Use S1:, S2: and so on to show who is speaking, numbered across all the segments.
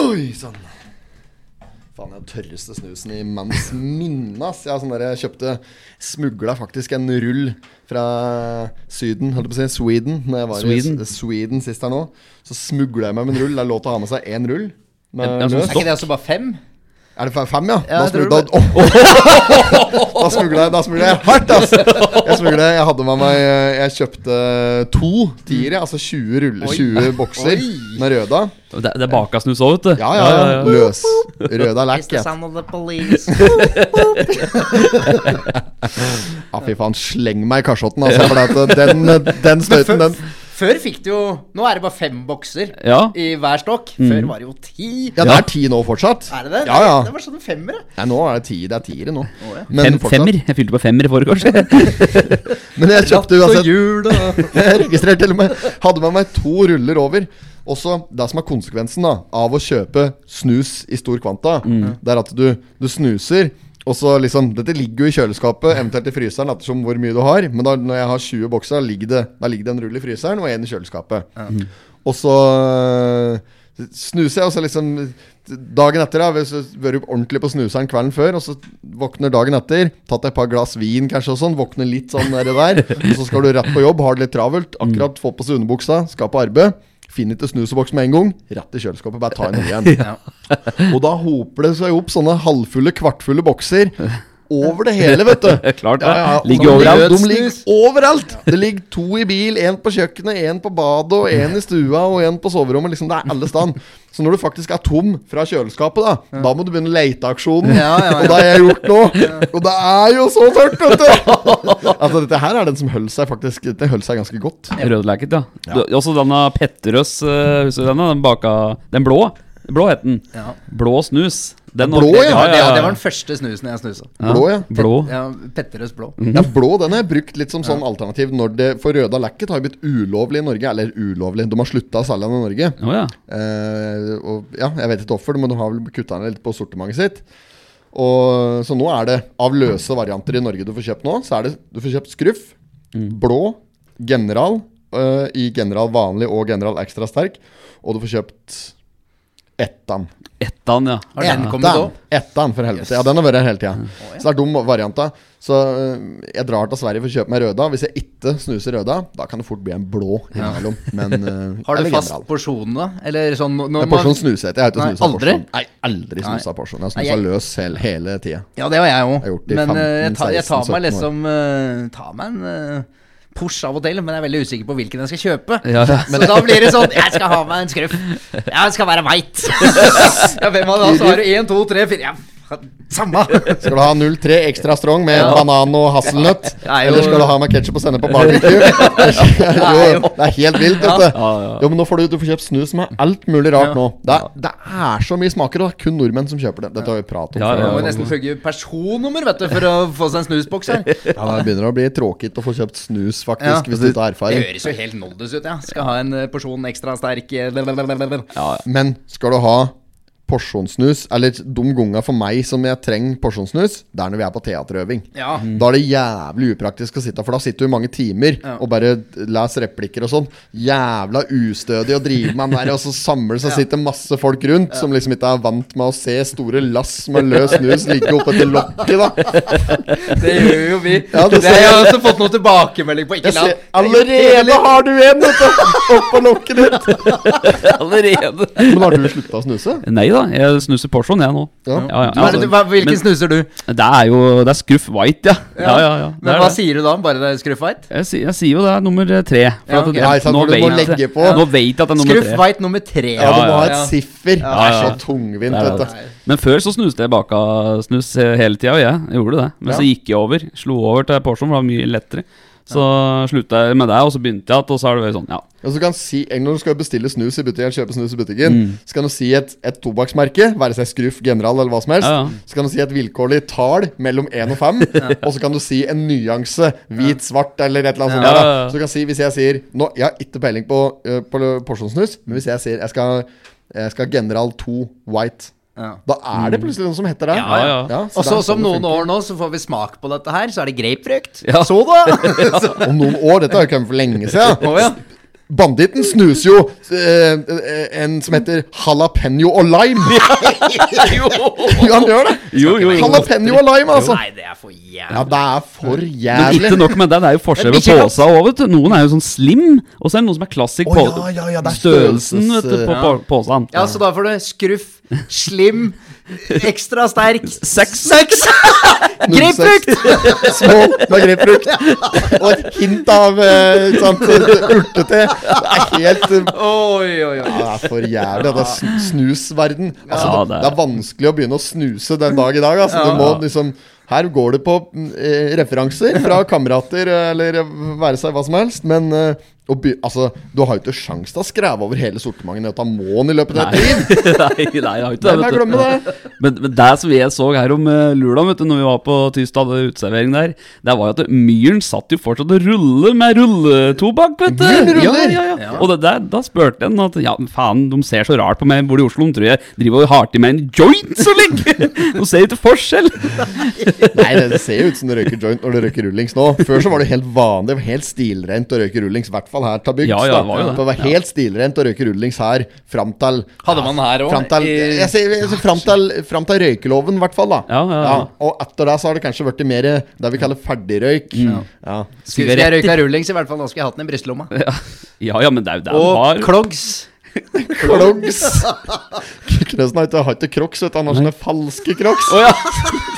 S1: Oi sann. Faen, jeg har tørreste snusen i manns minne, ass. Jeg, har sånn der, jeg kjøpte Smugla faktisk en rull fra Syden, holdt jeg på å si. Sweden. Når jeg var
S2: Sweden.
S1: i S- Sweden sist her nå, så smugla jeg meg med en rull. Det er lov til å ha med seg én rull. Med
S2: En- en sånn
S1: løs.
S3: Er ikke det også bare fem?
S1: Er det fe- fem, ja?
S3: altså, Ja,
S1: da
S3: jeg tror
S1: smugla
S3: det
S1: da, da smugla jeg, da smugla jeg hardt, ass! Jeg smugla Jeg hadde med meg eh, Jeg kjøpte to tiere, altså 20 ruller, 20 bokser
S3: Oi.
S1: med røda.
S2: Det, det er baka snus òg, vet du.
S1: Ja, ja, ja. Løs. Røda
S3: It's the
S1: lekk.
S3: sound of the police.
S1: Ja, fy faen. Sleng meg i kasjotten, altså. For at eh, den, eh, den støyten, den
S3: Før fikk du jo Nå er det bare fem bokser
S2: Ja.
S3: i hver stokk. Før var det jo ti.
S1: Ja, det er ti nå fortsatt.
S3: Er det det?
S1: Ja, ja.
S3: Det var sånn femmer, ja.
S1: Nei, nå er det ti. Det er tiere nå.
S3: ja.
S2: Fem, femmer. Jeg fylte på femmer i forrige år.
S1: Men jeg kjøpte
S3: Ratt og
S1: uansett Jeg registrerte til og med Hadde med meg to ruller over Også det som er konsekvensen da Av å kjøpe snus i stor kvanta
S3: Mm.
S1: Det er at du, du snuser og så liksom, dette ligger jo i kjøleskapet, eventuelt i fryseren, ettersom hvor mye du har. Men da, når jeg har 20 bokser, da ligger det, da ligger det en rull i fryseren og en i kjøleskapet. Og så øh, snuser jeg, og så liksom Dagen etter da, hvis du vært ordentlig på snuseren kvelden før, og så våkner dagen etter, tatt et par glass vin kanskje og sånn, våkner litt sånn der, der og så skal du rett på jobb, har det litt travelt, akkurat fått på seg underbuksa, skal på arbeid. Finner ikke snuseboks med en gang, rett i kjøleskapet, bare ta en ny igjen. Og da hoper det seg opp sånne halvfulle, kvartfulle bokser over det hele, vet du.
S2: Klart det.
S1: Ja, altså, ja, Sånn og
S2: Ligger
S1: de
S2: overalt.
S1: De ligger overalt. Det ligger to i bil, én på kjøkkenet, én på badet, og én i stua og én på soverommet. Liksom, det er alle stand. Så når du faktisk er tom fra kjøleskapet, da Da må du begynne leteaksjonen.
S3: Ja, ja, ja.
S1: Og det har jeg gjort nå. Og det er jo så tørt, vet du! Altså, dette her er den som holdt seg faktisk Dette holdt seg ganske godt.
S2: Rødleket, ja. Du- Også denne Petterøs, eh, husker du denne? Den baka Den blå. Blå het den.
S3: Ja.
S2: Blå snus. Den
S1: Blå,
S2: var-
S1: ja.
S3: Ja, det, ja, det var den første snusen jeg snusa.
S1: Blå, ja.
S2: Blå.
S3: Ja, Petterøes blå.
S1: Ja, blå den har jeg brukt litt som sånn alternativ når det For røda lekket har jo blitt ulovlig i Norge. Eller ulovlig, de har slutta å selge den i Norge.
S2: Å ja.
S1: Eh, og ja, jeg vet ikke hvorfor, men de har vel kutta ned litt på sortimentet sitt. Og, så nå er det av løse varianter i Norge du får kjøpt nå, så er det du får kjøpt skruff,
S3: Mm.
S1: blå, general eh, i general vanlig og general ekstra sterk, og du får kjøpt Ettan.
S2: Ettan, ja.
S3: Har den kommet
S1: Ettan,
S3: òg?
S1: ettan for helvete.
S3: Yes. Mm.
S1: Ja, den har vært her hele tida. Så det er de variantene. Så eh, jeg drar til Sverige for å kjøpe meg røda. Hvis jeg ikke snuser røda, da kan det fort bli en blå innimellom. Men eh,
S3: Har du
S1: eller
S3: fast
S1: general.
S3: porsjon, da? Eller sånn når
S1: Men
S3: man-
S1: Porsgrunn snuser jeg. Jeg har ikke
S3: Nei,
S1: snusa
S3: aldri?
S1: Porsgrunn. Nei, aldri snusa Porsgrunn. Jeg har snusa
S3: Nei, jeg-
S1: løs hele, hele tida.
S3: Ja, det har jeg
S1: Jeg har gjort
S3: òg.
S1: det i
S3: Men
S1: 15,
S3: eh, jeg, tar, jeg tar
S1: 16,
S3: meg
S1: 17
S3: liksom eh, Tar meg en eh, Porsche av og til, men jeg er veldig usikker på hvilken jeg skal kjøpe.
S2: Ja, ja.
S3: Så da blir det sånn Jeg skal ha meg en skruff. Jeg skal være veit. ja, hvem av da? Så har du én, to, tre, fire ja, Samme.
S1: Skal du ha 03 ekstra strong med
S3: Ja.
S1: banan og hasselnøtt?
S3: Ja, jo.
S1: Eller skal du ha med ketsjup og sende på barbecue? jo,
S3: jo.
S1: det er helt vilt, vet du.
S2: Ja, ja.
S1: Jo, men nå får du, du får kjøpt snus med alt mulig rart
S3: Ja.
S1: nå. Det er, det er så mye smaker, og det er kun nordmenn som kjøper det. Dette har vi pratet om
S2: Ja,
S3: Man
S1: før.
S3: må jo nesten følge personnummer vet du, for å få seg en snusboks her.
S1: Ja, det begynner å bli tråkete å få kjøpt snus,
S3: Ja.
S1: faktisk, hvis du ikke har
S3: Det
S1: erfaring.
S3: høres jo helt noldus ut. Ja. Skal ha en eh, porsjon ekstra sterk eh, blablabla.
S1: Men skal du ha porsjonssnus, eller de gangene for meg som jeg trenger porsjonssnus, det er når vi er på teaterøving.
S3: Ja.
S1: Mm. Da er det jævlig upraktisk å sitte For da sitter du i mange timer
S3: Ja.
S1: og bare leser replikker og sånn. Jævla ustødig å drive med den der, og så samler det seg sitter masse folk rundt som liksom ikke er vant med å se store lass med løs snus ligge oppetter lokket, da.
S3: Det gjør jo vi.
S1: Ja, det
S3: det har
S1: ser
S3: jeg
S1: jeg.
S3: også fått noen tilbakemelding på. Ikke
S1: Jeg
S3: la
S1: ser, allerede har du en, vet du! Oppå lokket ditt.
S2: Allerede.
S1: Men har du slutta å snuse?
S2: Nei da, jeg snuser Porsgrunn, jeg nå.
S1: Ja.
S2: Ja, ja,
S3: Hva er det du- hva- Hvilken
S2: men-
S3: snuser du?
S2: Det er jo Det er Scruff White, ja. Ja, ja, ja. Det
S3: Men
S2: er
S3: hva
S2: det.
S3: sier du da? Bare det er Scruff White?
S2: Jeg, sier, jeg sier jo det er nummer tre. For
S3: Ja,
S2: at
S3: ok.
S2: det-
S1: Nei, sant, for du må
S2: vet-
S1: legge på.
S2: nå vet jeg at det er nummer
S3: Scruff
S2: tre.
S3: White nummer tre.
S1: Ja, du må ha et
S3: Ja.
S1: siffer. Det er
S2: ja.
S1: så tungvint,
S2: Det er
S1: vet du.
S3: det.
S2: Men før så snuste jeg baka snus he- hele tida, og jeg gjorde det. Men
S1: Ja.
S2: så gikk jeg over. Slo over til Porsgrunn, for det var mye lettere. Så slutta jeg med det, og så begynte jeg igjen, og så har det vært sånn, ja.
S1: Og så kan si, Når du skal bestille snus i butikken, eller kjøpe snus i butikken,
S2: Mm.
S1: så kan du si et, et tobakksmerke, være seg Scruff, General eller hva som helst.
S2: Ja, ja.
S1: Så kan du si et vilkårlig tall mellom 1 og 5, og så kan du si en nyanse, hvit, svart eller et eller annet sånt.
S2: Ja,
S1: der,
S2: ja,
S1: da.
S2: ja.
S1: Så du kan si, hvis jeg sier nå, Jeg har ikke peiling på, eh, på porsjonssnus, men hvis jeg sier jeg skal, jeg skal General 2 White,
S3: Ja.
S1: da er det plutselig noen som heter det.
S2: Mm. Ja, ja.
S1: så
S3: Og
S1: det er
S3: så
S1: sånn det
S3: som noen
S1: funker.
S3: år nå, så får vi smak på dette her, så er det grapefrukt.
S2: Ja.
S3: Så da!
S1: Om noen år, dette har jo kommet for lenge siden.
S3: Å ja.
S1: Banditten snuser jo eh, eh, en som heter jalapeño og lime.
S3: Jo.
S1: Jo, han gjør det!
S2: Jo, jo, jo.
S1: Jalapeño og lime, altså.
S3: Nei, det er for jævlig.
S1: Ja, det er for
S2: Men ikke
S1: jævlig.
S2: nok med det, det er jo forskjell
S3: Men
S2: på
S3: ikke sant?
S2: posa òg, vet du. Noen er jo sånn slim, og så er det noen som er klassisk
S1: Å,
S2: på
S1: ja, ja, ja, det er
S2: størrelsen vet du,
S1: størrelses-
S2: på po- posen.
S3: Ja, så da får du skruff, slim, ekstra sterk
S2: Seks.
S3: Seks! Grapefrukt!
S1: Små med grapefrukt. Og et hint av eh, ikke sant, urtete. Det er helt eh,
S3: Oi, oi, oi.
S1: ja, det er for jævlig. Det er sn- snusverden. Altså,
S2: Ja,
S1: det,
S2: det er-
S1: det er vanskelig å begynne å snuse den dag i dag. Altså. Du må liksom Her går det på mm, eh, referanser fra kamerater eh, eller være seg hva som helst, men eh, å be, altså, du har jo ikke sjans til å skreve over hele sortimentet i dette månen i løpet av et
S2: Nei.
S1: liv.
S2: nei, nei, jeg har
S1: Nei, men jeg
S2: ikke vet du.
S1: glemmer det.
S2: Men, men det som jeg så her om uh, lula, vet du, når vi var på Tystad og uteservering der, det var jo at myren satt jo fortsatt og ruller med rulletobakk, vet du.
S1: Myren ruller?
S2: Ja, ja, ja. Og det der, da spurte en at ja, men faen, de ser så rart på meg, bor i Oslo, de tror jeg driver og har til meg en joint så lenge. de ser jo ikke forskjell.
S1: Nei, det ser jo ut som du røyker joint når du røyker rullings nå. Før så var det helt vanlig, det var helt stilrent å røyke rullings, i hvert fall her til bygds.
S2: Ja,
S1: da.
S2: ja, det var jo det.
S1: det var helt stilrent å røyke rullings her fram til
S3: Hadde man her også?
S1: Fram til,
S3: I-
S1: jeg sier- jeg sier fram til, fram til røykeloven, i hvert fall. da
S2: Ja, ja, ja.
S1: Og etter det så har det kanskje blitt mer det vi kaller ferdigrøyk. Ja.
S3: Skulle ikke jeg røyka rullings, i hvert fall da skulle jeg hatt den i brystlomma.
S2: Ja, ja, men det er jo det de
S3: Og
S2: har.
S3: clogs.
S1: Klogs! Knøsen har ikke hatt det crocs, vet du. Han har sånne falske crocs.
S2: Å ja,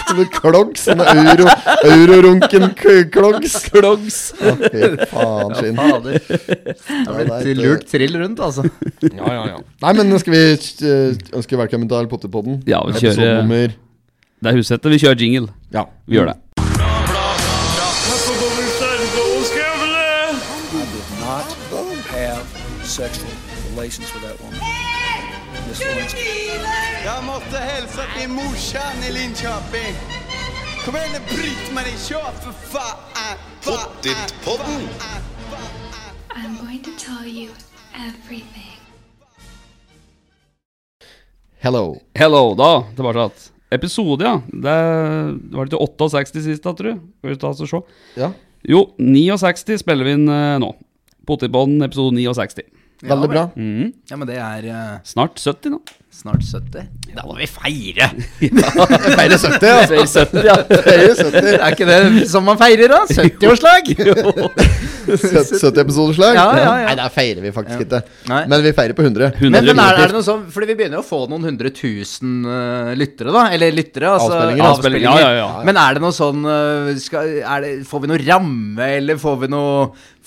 S1: Sånne Klogs, sånne euro, eurorunken k- klogs.
S2: klogs.
S1: Å, Fy faen, skinn.
S3: Fader. Det ble
S1: Ja, det er
S3: et
S1: et-
S3: lurt trill rundt, altså.
S1: Ja, ja, ja. Nei, men skal vi eh, ønske velkommen til Potterpodden?
S2: Ja, vi kjører-
S1: Episode nummer
S2: Det er hushette, vi kjører jingle.
S1: Ja.
S2: Vi gjør det.
S4: not have sexual relations with that woman. Miss Lewinsky.
S5: Jeg måtte hilse til morsan i Linköping. Kom igjen, Britt-Marie, kjør, for faen! Pottit-podden!
S6: I'm going to tell you everything.
S1: Hello.
S2: Hello, da. Tilbake igjen. Episode, ja. Det det var det til 68 sist, da, tror jeg. Skal vi ta oss og se.
S1: Ja,
S2: Jo, 69 spiller vi inn eh, nå. Potetbånd episode 69.
S1: veldig bra.
S2: Mm.
S3: Ja, men det er eh,
S2: Snart 70 nå.
S3: snart 70. Da må vi feire!
S1: Feire 70, ja.
S2: Feil 70, ja.
S1: Feire 70.
S3: Er ikke det som man feirer, da? 70-årslag!
S1: 70 70-episodeslag.
S3: Ja, ja, ja.
S1: Nei, der feirer vi faktisk ikke.
S3: Nei.
S1: Men vi feirer på 100.
S2: 100
S3: Men, men er, er
S2: definitivt.
S3: det noe sånn, fordi vi begynner jo å få noen hundre tusen eh, lyttere, da? Eller lyttere, altså
S1: Avspillinger,
S2: avspillinger. Ja, ja, ja.
S3: Men er det noe sånn eh, skal, er det, Får vi noe ramme, eller får vi noe,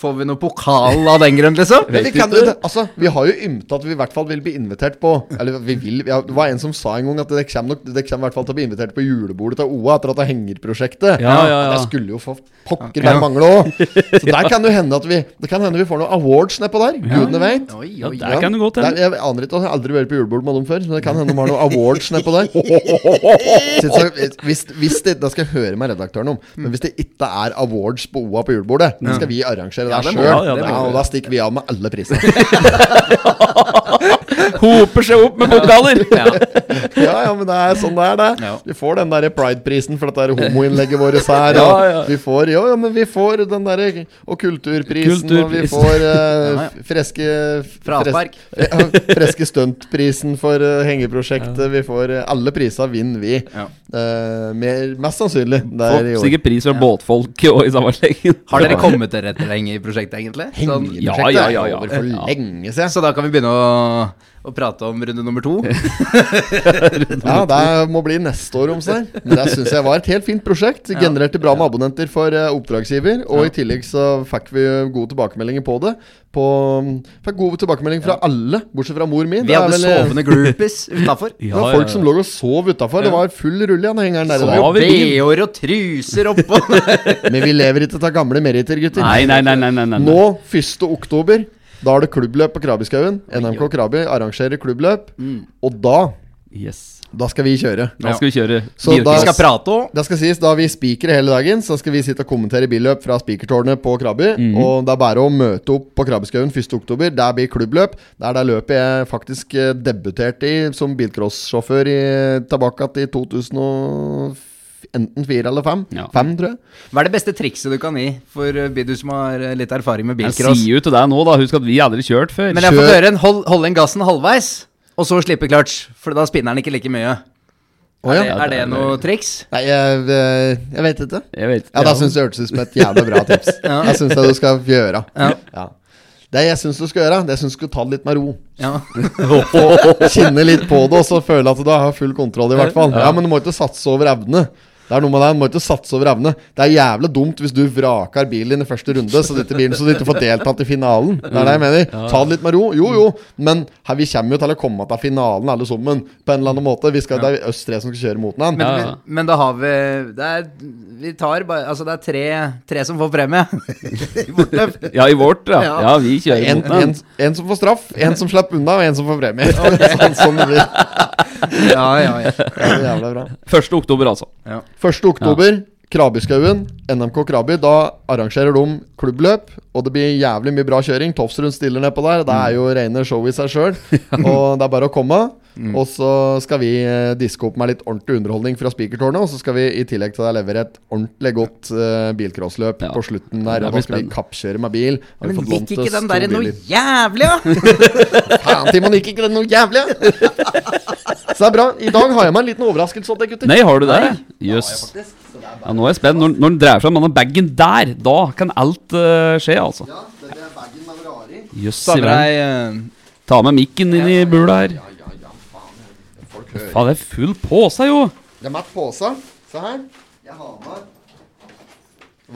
S3: får vi noe pokal av den grunn, liksom?
S1: Men vi, kan, jo- altså, vi har jo ymta at vi i hvert fall vil bli invitert på Eller vi vil vi har, Det var en som sa en gang at det kommer nok Det kommer i hvert fall til å bli invitert på julebordet til OA etter at det hengerprosjektet.
S2: Ja, ja, ja.
S1: Det skulle jo for pokker bare mangle òg. Så der kan det jo hende at vi Det kan hende vi får noen awards nedpå der. Gudene veit.
S3: Oi,
S2: Ja,
S3: oi,
S2: der kan det godt
S1: Der-
S2: hende.
S1: Jeg aner ikke, jeg har aldri vært på julebord med dem før. Så det kan hende de har noen awards nedpå der. Så- så Hvis, hvis det, det skal jeg høre med redaktøren om. Men hvis det ikke er awards på OA på julebordet, så skal vi arrangere det
S3: det
S1: sjøl.
S3: må-
S2: ja, ja, det
S1: Ja,
S2: må
S1: og da stikker vi av med alle prisene.
S2: Hoper seg opp med pokaler!
S1: Ja, ja, men det er sånn det er, det.
S3: Ja.
S1: Vi får den der Pride-prisen for dette her homoinnlegget vårt her.
S2: Ja,
S1: og
S2: ja.
S1: Vi får, ja, ja, men vi får den der Og kulturprisen, og vi
S2: Kulturpris.
S1: får eh,
S3: Ja, ja.
S1: freske
S3: Fraspark.
S1: fres- ja, Freske stuntprisen for eh, hengeprosjektet. Vi får eh, Alle priser vinner vi.
S3: Ja.
S1: Eh, mer, mest sannsynlig. Det er i
S2: Og
S1: år.
S2: sikkert pris fra båtfolket og i sammenhengen.
S3: Har dere kommet dere etter lenge i prosjektet, egentlig? Sånn,
S1: Hengeprosjektet
S2: Ja, ja, ja,
S1: er
S2: ja.
S1: over for
S2: Ja.
S1: lenge siden.
S3: så da kan vi begynne å, å prate om runde nummer to.
S1: Ja, det må bli neste år om seg. Men det syns jeg var et helt fint prosjekt. Genererte bra med abonnenter for eh, oppdragsgiver. Og i tillegg så fikk vi eh, gode tilbakemeldinger på det. På, fikk gode tilbakemeldinger fra alle, bortsett fra mor min.
S3: Vi hadde sovende groupies utafor.
S1: eh, Det var folk som lå og sov utafor. Det var full rulle i den hengeren der. i dag.
S2: Sov. vi bil.
S3: BH-er og truser oppå.
S1: Men vi lever ikke av gamle meritter, gutter.
S2: Nei, nei, nei. nei, nei, nei.
S1: Nå, 1. oktober, da er det klubbløp på Krabbeskaugen. NMK Krabbe arrangerer klubbløp.
S2: Mm.
S1: Og da,
S2: Yes.
S1: da skal vi kjøre.
S2: Da skal vi kjøre.
S1: Så da-
S3: Vi
S2: Virkelig.
S3: skal prate òg.
S1: Det skal sies, da vi spikere hele dagen, så skal vi sitte og kommentere billøp fra spikertårnet på Krabby. Og det er bare å møte opp på Krabbeskauen 1.10. Der blir klubbløp. Det er det løpet jeg faktisk eh, debuterte i som bilcrosssjåfør i- tilbake til 2004. f- enten fire eller fem.
S2: Ja.
S1: Fem, tror jeg.
S3: Hva er det beste trikset du kan gi for eh, du som har eh, litt erfaring med
S2: Jeg
S3: bilcross?
S2: sier jo til deg nå, da. Husk at vi aldri kjørt før.
S3: Men jeg får
S1: Kjør.
S3: høre en hold, hold inn gassen halvveis, og så slippe clutch. For da spinner den ikke like mye.
S1: Å,
S3: Er det,
S1: ja.
S3: er det noe triks?
S1: Nei, jeg, eh, jeg vet ikke.
S2: Jeg vet
S1: Ja, da syns jeg det hørtes ut som et jævla bra tips.
S3: Ja.
S1: Jeg syns det du skal gjøre.
S3: Ja.
S1: Ja. Det jeg syns du skal gjøre, det syns du skal ta det litt med ro.
S3: Ja.
S1: Kjenne litt på det, og så føle at du har full kontroll, i hvert fall. Ja, men du må ikke satse over evne. Det er noe med det, du må ikke satse over evne. Det er jævlig dumt hvis du vraker bilen din i første runde, så dette bilen så du ikke får deltatt i finalen. Det er det jeg mener. Ta det litt med ro. Jo, jo, men her, vi kommer jo til å komme til finalen alle sammen, på en eller annen måte. Vi skal, Det er oss tre som skal kjøre mot den.
S3: Men,
S2: Ja.
S3: men, men da har vi Det er, vi tar bare, altså det er tre, tre som får premie. I bortløp.
S2: Ja, i vårt, ja.
S3: Ja.
S2: Ja, vi kjører
S1: En,
S2: mot den.
S1: en, en som får straff, en som slipper unna, og en som får premie. sånn, sånn det blir.
S3: Ja, ja, ja.
S1: Ja, det er jævla bra.
S2: 1. oktober, altså.
S1: 1. oktober, Krabiskauen, NMK Krabi. Da arrangerer de klubbløp, og det blir jævlig mye bra kjøring. Tofsrud stiller nedpå der. Det er jo rene show i seg sjøl. Og det er bare å komme.
S2: Mm.
S1: Og så skal vi eh, diske opp med litt ordentlig underholdning fra Spikertårnet. Og så skal vi i tillegg til det levere et ordentlig godt eh, bilcrossløp
S2: Ja.
S1: på slutten der.
S2: Det
S1: Og da
S2: blir
S1: skal vi
S2: spennende.
S1: kappkjøre med bil. Har vi
S3: Men
S1: fått lånt
S3: gikk ikke
S1: oss
S3: den
S1: to
S3: der noe
S1: biler.
S3: jævlig, da?
S1: Faen, Timon, gikk ikke den noe jævlig? ja? Så det er bra. I dag har jeg meg en liten overraskelse til deg, gutter.
S2: Nei, har du det? Jøss. Ja, nå er jeg spent. Når, når han dreier fram denne bagen der, da kan alt eh, skje, altså. Jøss,
S3: Ta
S2: i verden.
S3: med deg eh,
S2: Ta med mikken inn i bula her. Faen, det er full påse, jo.
S1: Jeg har med pose. Se her. Jeg har med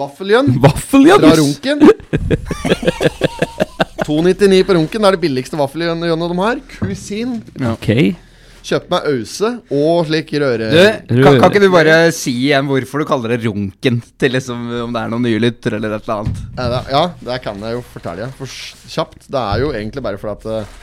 S1: vaffeljønn fra
S2: Vaffeljøss.
S1: Runken. 2,99 på Runken. Det er det billigste vaffeljønnet de har. Kusin.
S2: Ok.
S1: Kjøp meg ause og slik røre...
S3: eh, Du, kan, kan ikke du bare si igjen hvorfor du kaller det runken? Til liksom om det er noen nye lytter eller et eller annet.
S1: Ja, det- Ja, det kan jeg jo fortelle. For s- kjapt. Det er jo egentlig bare fordi at eh,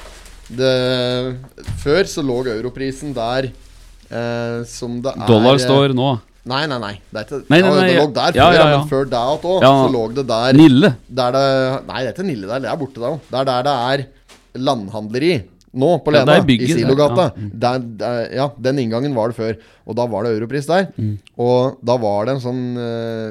S1: det, Før så lå europrisen der eh, som det er
S2: Dollar
S1: eh,
S2: står nå.
S1: Nei, nei, nei. Det er ikke,
S2: Nei, nei,
S1: Ja,
S2: nei,
S1: det lå der
S2: ja,
S1: før,
S2: ja,
S1: ja,
S2: ja.
S1: men før det òg,
S2: Ja.
S1: så lå det der.
S2: Nille.
S1: Der det Nei, det er ikke Nille der, det er borte der òg. Det er der det er landhandleri nå, på
S2: Ja,
S1: Lena,
S2: det er Mm. bygget
S1: i Silogata. Der, der- ja, den inngangen var det før. Og da var det Europris der.
S2: Mm.
S1: Og da var det en sånn eh,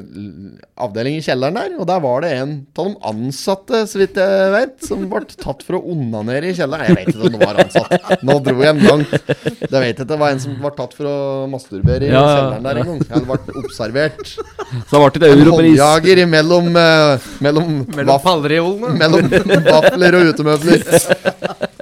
S1: avdeling i kjelleren der, og der var det en av de ansatte, så vidt jeg vet, som ble tatt for å onanere i kjelleren. Jeg vet ikke om det var ansatt. Nå dro jeg en langt. Jeg vet ikke, det var en som ble tatt for å masturbere i
S2: Ja, ja,
S1: kjelleren der en gang. Eller ble observert.
S2: Så det ble det
S1: En
S2: europris.
S1: håndjager imellom eh, mellom,
S3: Mellom
S1: vaff-
S3: pallreolene.
S1: mellom vafler og utemøbler.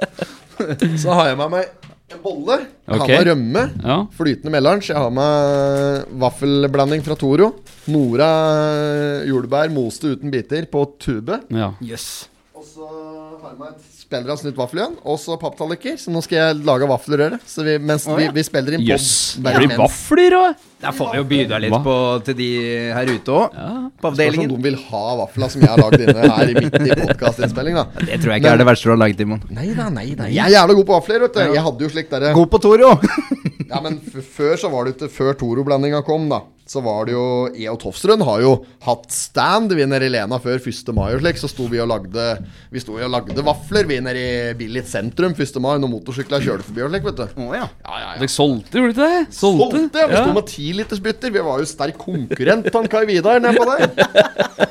S1: Så har jeg med meg en bolle. Jeg har
S2: Ok.
S1: med rømme.
S2: Ja.
S1: Flytende melange. Jeg har med vaffelblanding fra Toro. Nora eh, jordbær moste uten biter på tube.
S2: ja.
S3: Jøss.
S1: Og så har jeg med et spiller av snytt vaffel igjen. Og så papptallerkener. Så nå skal jeg lage vaffelrøre. Så vi, mens
S3: Å, ja.
S1: vi, vi spiller inn pod-
S2: Jøss. Det
S1: bare
S2: blir
S1: mens-
S2: vafler òg.
S3: Der får vi jo bidra litt
S2: Hva?
S3: på, til de her ute òg. På
S1: Spørs om
S3: avdelingen.
S1: sånn de vil ha vafla som jeg har lagd inne her i midt i podkastinnspilling, da.
S3: Det tror jeg ikke
S1: Men-
S3: er det verste du har laget, Timon.
S1: Nei da, nei, nei. Jeg er jævla god på vafler, vet du. Jeg hadde jo slik derre
S3: God på Toro!
S1: Ja, men f før så var det ikke Før Toro-blandinga kom, da, så var det jo Jeg og Tofsrud har jo hatt stand vi nede i Lena før 1. mai og slik. Så sto vi og lagde Vi sto jo og lagde vafler, vi nede i Billit sentrum 1. mai når motorsykla kjørte forbi og slik, vet du.
S3: Å
S1: Ja,
S3: ja.
S1: ja, ja.
S2: Dere solgte, gjorde dere ikke det? Solgte?
S1: Solgte, ja. Vi sto med tilitersbytter. Vi var jo sterk konkurrent til Kai Vidar nedpå der.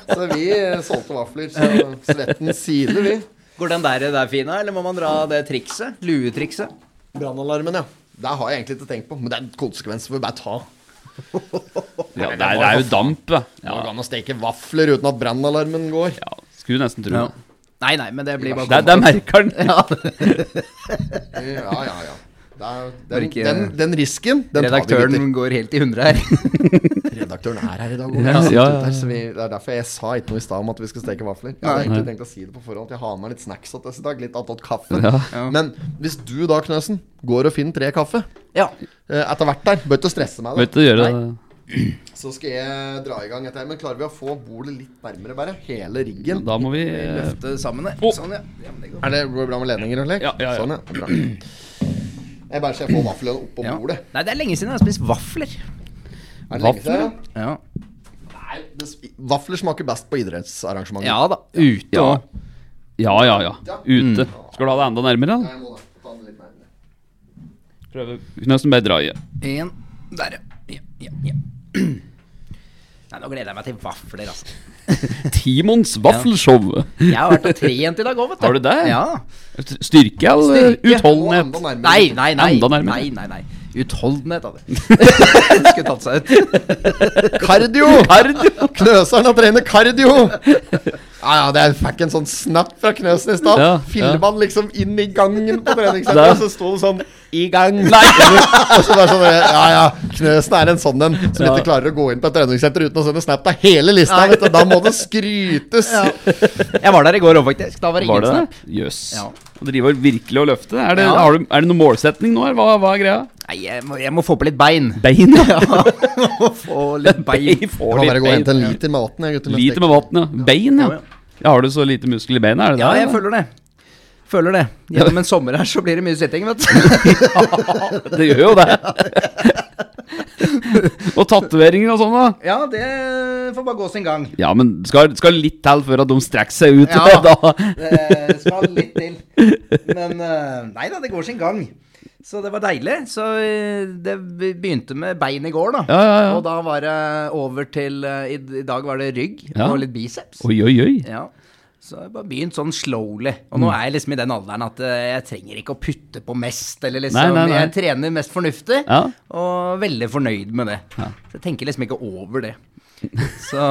S1: Så vi eh, solgte vafler. Så svetten siler, vi.
S3: Går den der, der fin, da, eller må man dra det trikset? Luetrikset?
S1: Brannalarmen, ja. Det har jeg egentlig ikke tenkt på, men det er en konsekvens vi bare ta.
S2: Ja, det er, det er jo damp, da.
S1: Går det
S2: ja.
S1: an å steke vafler uten at brannalarmen går?
S2: ja. Skulle nesten tro det.
S3: Nei, nei, men det blir bare
S2: Der, der merker den.
S1: Ja, ja, ja. Det er,
S3: Bare
S1: den,
S3: ikke-
S1: den, den risken, den tar vi,
S3: Redaktøren går helt i hundre her.
S1: gutter. Redaktøren er her i dag. og
S2: Ja,
S1: jeg sitter
S2: ja, ja.
S1: ut her, så vi, det er derfor jeg sa ikke noe i stad om at vi skal steke vafler. Jeg hadde egentlig tenkt å si det på forhånd. Jeg har med litt snacks til oss i dag. Litt attåt kaffe.
S3: Ja.
S1: Men hvis du da, Knøsen, går og finner tre kaffe
S3: Ja.
S1: eh, etter hvert der, bør ikke stresse meg,
S2: Vet
S1: da.
S2: du, gjøre det.
S1: så skal jeg dra i gang etter her. Men klarer vi å få bordet litt nærmere, bare? Hele riggen?
S2: Da må vi eh,
S3: Løfte sammen, det.
S2: Å.
S3: Sånn, ja. ja men det går.
S1: Er det går det bra med ledninger og slik?
S2: Ja, ja, ja.
S1: Sånn, ja. Bra. Jeg bare ser på vaflene oppå
S3: Ja.
S1: bordet.
S3: Nei, det er lenge siden jeg har spist vafler.
S1: Er det lenge siden?
S3: Ja,
S1: Nei, det, s- vafler smaker best på idrettsarrangementer.
S3: ja da. Ute Mm.
S2: Ja.
S3: òg.
S2: Ja, ja, ja. Ute. Skal du ha det enda nærmere? da?
S1: Jeg må da ta den litt nærmere.
S2: Prøve Knøsen bare dra i.
S3: En der, ja. ja, ja, ja. Nei, nå gleder jeg meg til vafler, altså.
S2: Timons vaffelshow.
S3: Jeg har vært og trent i dag òg, vet du.
S2: Har du det?
S3: Ja.
S2: Styrke eller
S3: Styrke.
S2: utholdenhet?
S1: Enda nærmere.
S3: Nei, nei, nei.
S2: Enda nærmere.
S3: Nei, nei, nei. Utholdenhet av det. Skulle tatt seg ut.
S1: Kardio!
S2: Kardio.
S1: Knøseren har trener kardio! Ja, ja, det jeg fikk en sånn snap fra Knøsen i stad.
S2: Ja,
S1: Filma han liksom inn i gangen på
S2: Der.
S1: treningssenteret, og så sto det sånn
S2: I gang. Nei.
S1: og så bare sånn, Ja, ja, Knøsen er en sånn en som
S2: Ja.
S1: ikke klarer å gå inn på et treningssenter uten å sende snap av hele lista. Vet du. Da må det skrytes!
S3: Jeg var der i går òg, faktisk. Da var det
S2: Var
S3: ingen
S2: det
S3: snap.
S2: det? Jøss.
S3: Ja.
S2: Du driver virkelig og løfter. Er det,
S3: Ja.
S2: har du, er det noen målsetning nå, eller hva, hva er greia?
S3: Nei, jeg må, jeg må få på litt bein.
S2: Bein, ja.
S3: Må få litt bein.
S1: Jeg
S2: Får
S1: må bare gå og hente
S2: bein.
S1: en liter med maten, jeg, gutter. mens
S2: Lite
S1: det-
S2: med vann, ja. Bein, ja.
S3: Ja,
S2: ja. Har du så lite muskel i beina? Er det
S3: Ja,
S2: det,
S3: jeg
S2: eller?
S3: føler det. Føler det. Gjennom en sommer her så blir det mye sitting, vet du.
S2: Det gjør jo det. og tatoveringer og sånn, da.
S3: Ja, det får bare gå sin gang.
S2: Ja, men skal, skal litt til før at de strekker seg ut.
S3: Ja.
S2: Da.
S3: Det skal litt til. Men eh, nei da, det går sin gang. Så det var deilig. Så eh, det begynte med bein i går, da.
S2: Ja, ja, ja.
S3: Og da var det over til eh, I, i dag var det rygg
S2: Ja.
S3: og litt biceps.
S2: Oi, oi, oi.
S3: Ja. Så jeg bare begynt sånn slowly. Og
S2: Mm.
S3: nå er jeg liksom i den alderen at eh, jeg trenger ikke å putte på mest, eller
S2: Nei,
S3: liksom
S2: nei, nei.
S3: Jeg trener mest fornuftig,
S2: Ja.
S3: og veldig fornøyd med det. Så jeg tenker liksom ikke over det. Så,